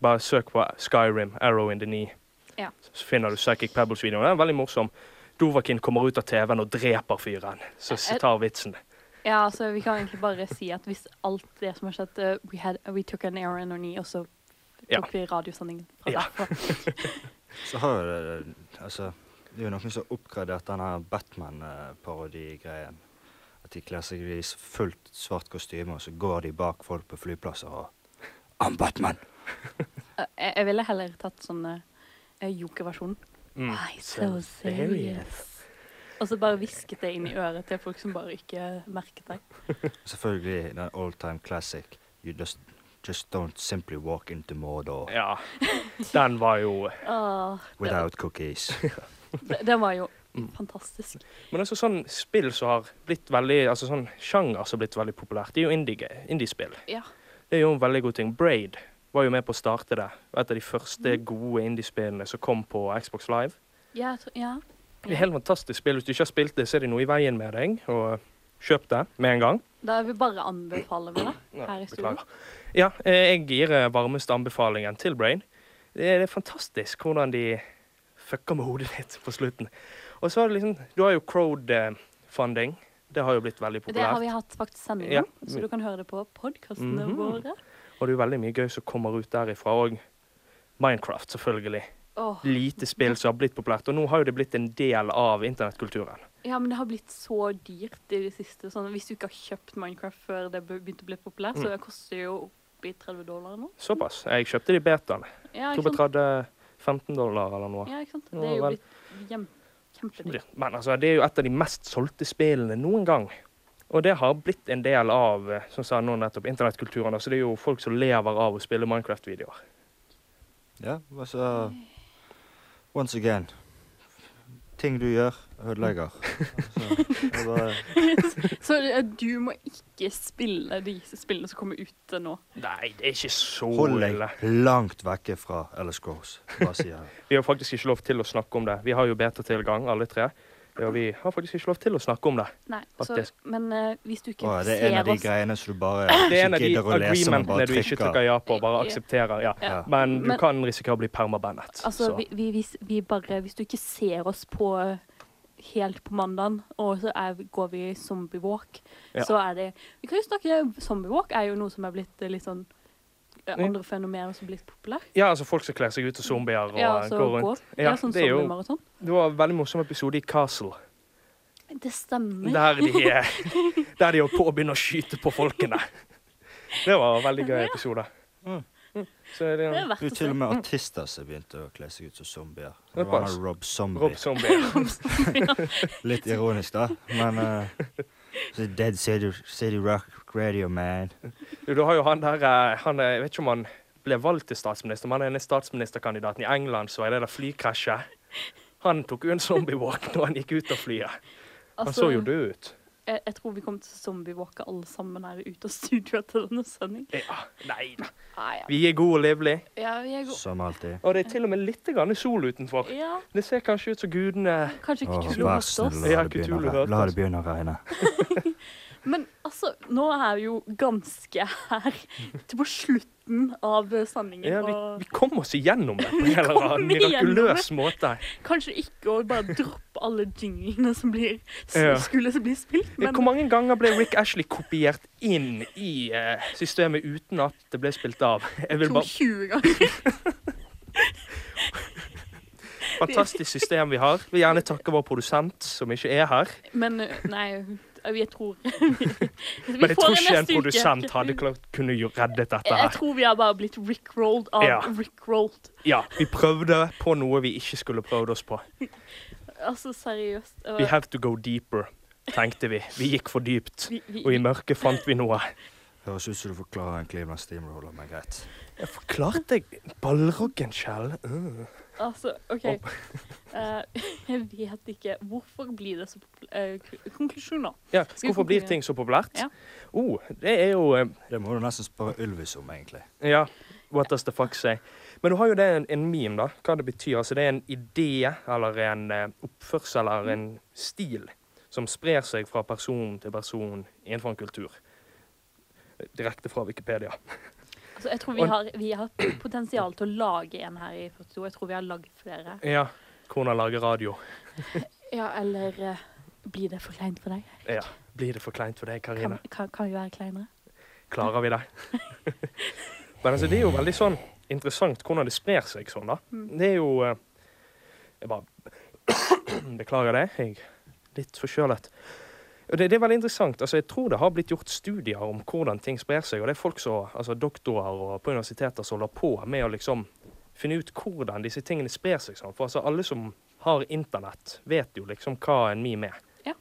S5: Bare søk på Skyrim, Arrow in the Knee.
S6: Ja.
S5: Så finner du Psychic Pebbles-videoen. Den er veldig morsom. Dovakin kommer ut av TV-en og dreper fyren. Så
S6: Jeg-
S5: tar vitsen.
S6: ja, altså vi kan egentlig bare si at hvis alt det som har skjedd eh, we, had, we took an arrow in our knee, og så tok
S5: Ja.
S6: vi radiosendingen fra
S5: Ja.
S6: derfra.
S4: Så har jo det Altså, det er jo noen som har oppgradert den her Batman-parodigreien. At de kler seg i s- fullt svart kostyme, og så går de bak folk på flyplasser og I'm Batman!
S6: Eh, jeg, jeg ville heller tatt sånn uh, jokerversjon.
S5: Mm.
S6: Why so serious? Og så bare hvisket det inn i øret til folk som bare ikke merket deg.
S4: Selvfølgelig den all time classic You just, just don't simply walk into Mordor
S5: Ja. Den var jo eh,
S6: Åh,
S4: without cookies.
S6: det, det var jo
S5: Mm.
S6: fantastisk.
S5: Men altså sånn spill som har blitt veldig Altså sånn sjanger som har blitt veldig populært, det er jo indie- indie-spill.
S6: Ja.
S5: Det er jo en veldig god ting. Braid var jo med på å starte det. Et av de første
S6: Mm.
S5: gode indiespillene som kom på Xbox Live.
S6: Ja, jeg tror- ja.
S5: Det er helt fantastisk spill. Hvis du ikke har spilt det, så er det noe i veien med deg. Og kjøp det med en gang.
S6: Da vil vi bare anbefale vi det her i studio.
S5: Beklager. Ja, eh, jeg gir eh, varmeste anbefalingen til Braid. Det er det er fantastisk hvordan de fucker med hodet ditt på slutten. Og så har du liksom Du har jo crowdfunding. Det har jo blitt veldig
S6: Det har
S5: populært.
S6: vi hatt faktisk sending
S5: Ja.
S6: om, så du kan høre det på podkastene
S5: Mhm.
S6: våre.
S5: Og det er jo veldig mye gøy som kommer ut derifra òg. Minecraft, selvfølgelig.
S6: Åh,
S5: Lite spill som har blitt populært. Og nå har jo det blitt en del av internettkulturen.
S6: ja, men det har blitt så dyrt i det siste. Sånn, hvis du ikke har kjøpt Minecraft før det be- begynte å bli populært,
S5: Mm.
S6: så det koster det jo oppi 30 dollar nå.
S5: Såpass. Jeg kjøpte de betaene.
S6: Ja,
S5: Tror
S6: ikke
S5: det
S6: sant?
S5: trodde 15 dollar eller noe.
S6: Ja, ikke sant?
S5: Ja,
S6: Det er jo
S5: vel.
S6: blitt hjem- kjempedyrt.
S5: Men altså, det er jo et av de mest solgte spillene noen gang. Og det har blitt en del av eh, som sa nå nettopp, internettkulturen. Så det er jo folk som lever av å spille Minecraft-videoer.
S4: ja, altså Once again. Ting du gjør, ødelegger. Altså, det er bare,
S6: Så eh, du må ikke spille de spillene som kommer ut eh, nå.
S5: Nei, det er ikke så
S4: hold
S5: ille.
S4: deg langt vekke fra Ellis Gross. Bare sier jeg.
S5: Vi har faktisk ikke lov til å snakke om det. Vi har jo betatilgang, alle tre. Og vi har faktisk ikke lov til å snakke om det.
S6: Nei, så,
S5: Faktisk.
S6: men eh, hvis du ikke
S4: Å, det er en
S6: ser
S4: av de
S6: oss
S4: greiene som du bare
S5: Det er en
S4: ikke
S5: av de
S4: gidder å lese, men
S5: agreementene
S4: bare
S5: du ikke trykker
S4: trykker.
S5: ja på, bare
S6: Ja.
S5: aksepterer. Ja.
S4: Ja.
S5: Men du
S6: Men-
S5: kan risikere å bli permabandet.
S6: Altså,
S5: så-
S6: vi, vi, hvis, vi bare Hvis du ikke ser oss på eh, helt på mandagen, og så er, går vi zombie walk,
S5: Ja.
S6: så er det Vi kan jo snakke Zombie walk er jo noe som er blitt eh, litt sånn eh, andre fenomener som er blitt populært.
S5: Ja, altså folk som kler seg ut som zombier og
S6: Ja,
S5: eh,
S6: så
S5: går rundt.
S6: går.
S5: Ja,
S6: Ja, sånn
S5: det er jo-
S6: zombiemaraton.
S5: Det var en veldig morsom episode i Castle,
S6: Det stemmer.
S5: der de, eh, der de holdt på å begynne å skyte på folkene. Det var en veldig gøy episode.
S4: Mm.
S5: Så det
S6: Det
S5: er
S6: er
S4: Det er
S6: verdt
S4: jo
S6: å
S4: til
S6: se.
S4: og med artister som begynte å kle seg ut som zombier.
S5: Det
S4: Det
S5: er
S4: var
S5: pass.
S4: han Rob Zombie.
S5: Rob Zombie.
S4: Litt ironisk, da. Men eh, så Dead City, City Rock Radio, man.
S5: Jo, Du har jo han der eh, han, eh, Jeg vet ikke om han ble valgt til statsminister, men han ene statsministerkandidaten i England så er det der flykrasjet. Han tok jo en zombiewalk når han gikk ut av flyet. Han
S6: Altså-
S5: så jo død ut.
S6: jeg, jeg tror vi kommer til å zombiewalke alle sammen her ute av studio etter denne sendingen.
S5: Ja, nei da.
S6: Ah, ja.
S5: Vi er gode og livlige.
S6: ja, vi er gode.
S4: Som alltid.
S5: Og det er til og med litt grann sol utenfor.
S6: Ja,
S5: Det ser kanskje ut som gudene
S6: kanskje
S4: Åh,
S6: Cthulhu hørte
S4: vær
S6: oss.
S4: snill,
S5: Ja,
S4: la det begynne å
S5: Cthulhu
S4: re-
S5: hørte
S4: la
S5: oss.
S4: det begynne å regne.
S6: Men altså, nå er vi jo ganske her til på slutten av eh, sendingen.
S5: ja, vi,
S6: og
S5: vi kom oss igjennom det på en eller annen
S6: kom igjennom det.
S5: mirakuløs måte.
S6: kanskje ikke å bare droppe alle jinglene som blir, som
S5: Ja.
S6: skulle bli spilt, men
S5: Hvor mange ganger ble Rick Ashley kopiert inn i eh, systemet uten at det ble spilt av? Jeg vil
S6: to
S5: bare,
S6: 20 ganger.
S5: Fantastisk system vi har. Vil gjerne takke vår produsent, som ikke er her.
S6: Men eh, nei, jeg tror vi, vi
S5: Men jeg
S6: får
S5: tror
S6: det
S5: ikke en
S6: neste uke.
S5: produsent hadde klart kunne jo reddet
S6: Jeg,
S5: dette
S6: jeg
S5: her.
S6: tror vi har bare blitt rickrolled av
S5: Ja.
S6: rickrolled.
S5: Ja, Vi prøvde på noe vi ikke skulle prøvd oss på.
S6: Altså, seriøst. eh,
S5: We have to go deeper, tenkte vi. Vi gikk for dypt.
S6: vi, vi,
S5: Og i mørket fant vi noe.
S4: Høres ut som du forklarer en Cleveland Steamroller, men greit.
S5: Jeg forklarte jeg ballroggenskjell. Uh.
S6: Altså, OK. Eh, jeg vet ikke. Hvorfor blir det så popul- eh, k- Konklusjoner.
S5: Ja,
S6: Skal vi
S5: hvorfor blir
S6: konkludere?
S5: ting så populært?
S6: Ja.
S5: Oh, det er jo eh,
S4: Det må du nesten spørre Ylvis om, egentlig.
S5: Ja, what does the fuck say? Men du har jo det en, en meme, da. Hva det betyr. Altså, det er en idé eller en eh, oppførsel eller en
S6: Mm.
S5: stil som sprer seg fra person til person innenfor en kultur. Direkte fra Wikipedia.
S6: Altså, jeg tror vi har, vi har potensial til å lage en her i 42. Jeg tror vi har lagd flere.
S5: Ja. Hvordan lage radio.
S6: Ja, eller eh, blir det for kleint for deg?
S5: Ja. Blir det for kleint for deg, Karina?
S6: Kan, kan, kan vi være kleinere?
S5: Klarer vi det? Men altså, det er jo veldig sånn interessant hvordan det sprer seg sånn, da.
S6: Mm.
S5: Det er jo eh, Jeg bare beklager det. Jeg er litt forkjølet. Og Det, det er veldig interessant. altså Jeg tror det har blitt gjort studier om hvordan ting sprer seg. og det er folk som, altså Doktorer og på universiteter som holder på med å liksom finne ut hvordan disse tingene sprer seg. sånn, For altså alle som har internett, vet jo liksom hva en meme er.
S6: Ja.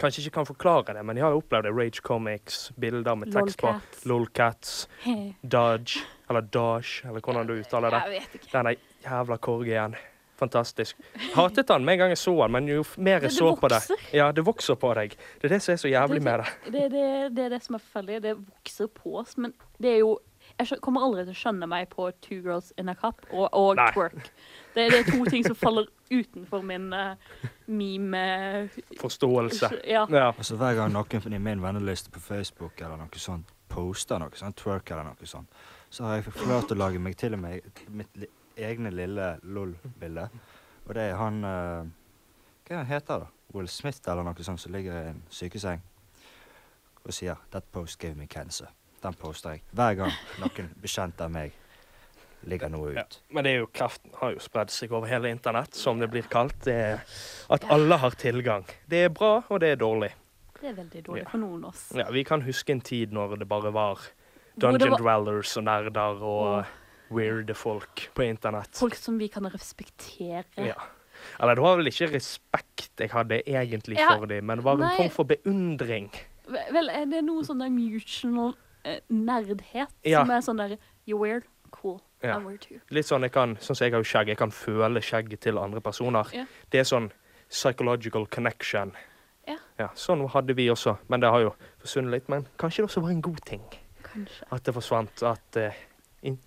S5: Kanskje ikke kan forklare det, men jeg har jo opplevd det. Rage Comics, bilder med tekst på.
S6: Lolcats.
S5: Lolcats.
S6: Hei.
S5: Dodge, eller Dodge, eller hvordan du uttaler det.
S6: Jeg vet ikke.
S5: Den der jævla korgen. Fantastisk. Hatet han med en gang jeg så han, men jo f- mer jeg
S6: Det- det
S5: så på det
S6: vokser.
S5: Ja, det vokser på deg. Det er det som er så jævlig med det.
S6: Det, det, det er det som er forferdelig. Det vokser på oss. Men det er jo Jeg skjø- kommer aldri til å skjønne meg på Two Girls in a Cup og, og
S5: Nei.
S6: twerk. Det, det er to ting som faller utenfor min eh, meme eh,
S5: Forståelse.
S6: Ja.
S5: Ja.
S4: Altså Hver gang noen i min venneliste på Facebook eller noe sånt poster noe sånt, twerk eller noe sånt, så har jeg klart å lage meg til og med mitt li egne lille LOL-bilde. Og det er han eh, Hva er han heter da? Will Smith eller noe sånt som ligger i en sykeseng og sier 'That post gave me cancer'. Den poster jeg hver gang noen bekjent av meg ligger noe
S5: Ja.
S4: ut.
S5: Men det er jo kraften har jo spredd seg over hele internett, som det blir kalt. Det er at alle har tilgang. Det er bra, og det er dårlig.
S6: Det er veldig dårlig
S5: Ja.
S6: for noen av oss.
S5: Ja, vi kan huske en tid når det bare var
S6: Hvor det
S5: Dungeon
S6: var-
S5: dwellers og nerder
S6: Åh.
S5: og weirde folk på internett.
S6: Folk som vi kan respektere.
S5: Ja. Eller det var vel ikke respekt jeg hadde egentlig
S6: Ja,
S5: for dem, men det var en
S6: nei.
S5: form for beundring.
S6: Ve- Vel, er det noe sånn der mutual eh, nerdhet
S5: Ja.
S6: som er sånn der You're weird, cool.
S5: Ja.
S6: I'm weird too.
S5: Litt sånn jeg kan, sånn som jeg har jo skjegg, jeg kan føle skjegget til andre personer.
S6: Ja.
S5: Det er sånn psychological connection.
S6: Ja.
S5: sånn hadde vi også, men det har jo forsvunnet litt. Men kanskje det også var en god ting
S6: Kanskje.
S5: at det forsvant. At eh, in,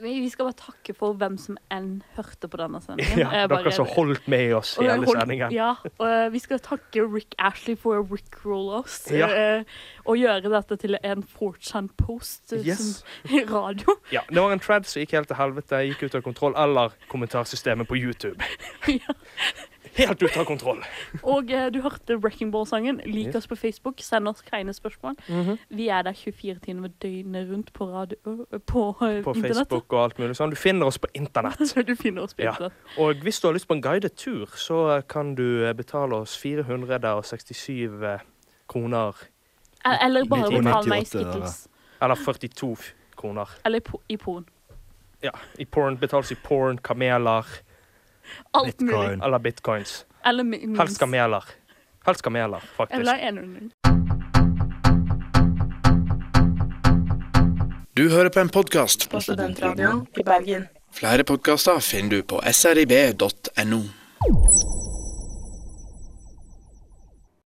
S6: Vi vi skal bare takke for hvem som enn hørte på denne sendingen.
S5: ja,
S6: Jeg bare-
S5: dere som holdt med oss
S6: Og
S5: i hele
S6: hold-
S5: sendingen.
S6: Ja, og eh, vi skal takke Rick Ashley for å rickroll oss.
S5: Ja.
S6: eh, Og gjøre dette til en 4chan-post eh,
S5: Yes.
S6: som radio.
S5: Ja, det var en thread som gikk helt til helvete, gikk ut av kontroll, eller kommentarsystemet på YouTube.
S6: Ja.
S5: Helt ut av kontroll.
S6: Og eh, du hørte Wrecking Ball-sangen. Lik
S5: Yes. Mhm.
S6: oss på Facebook. Send oss kleine spørsmål. Vi er der 24 timer døgnet rundt på radio øh, På, eh,
S5: På
S6: internettet.
S5: Facebook og alt mulig sånn. Du finner oss på internett.
S6: Du finner oss på
S5: Ja.
S6: internett.
S5: Og hvis du har lyst på en guidet tur, så kan du eh, betale oss 467 eh, kroner,
S6: E- Eller bare
S4: Litt
S6: betal meg i
S4: 98 øre.
S6: Skittles.
S5: eller 42 kroner.
S6: Eller po i porn.
S5: Ja, i porn betales i porn, kameler
S6: Alt mulig.
S4: Bitcoin.
S5: eller bitcoins.
S6: Eller mi- minst.
S5: Helst kameler. Helst kameler,
S6: Jeg vil ha
S5: faktisk.
S6: en under.
S10: Du hører på en podkast.
S2: På Studentradioen i Bergen.
S10: Flere podkaster finner du på srib.no.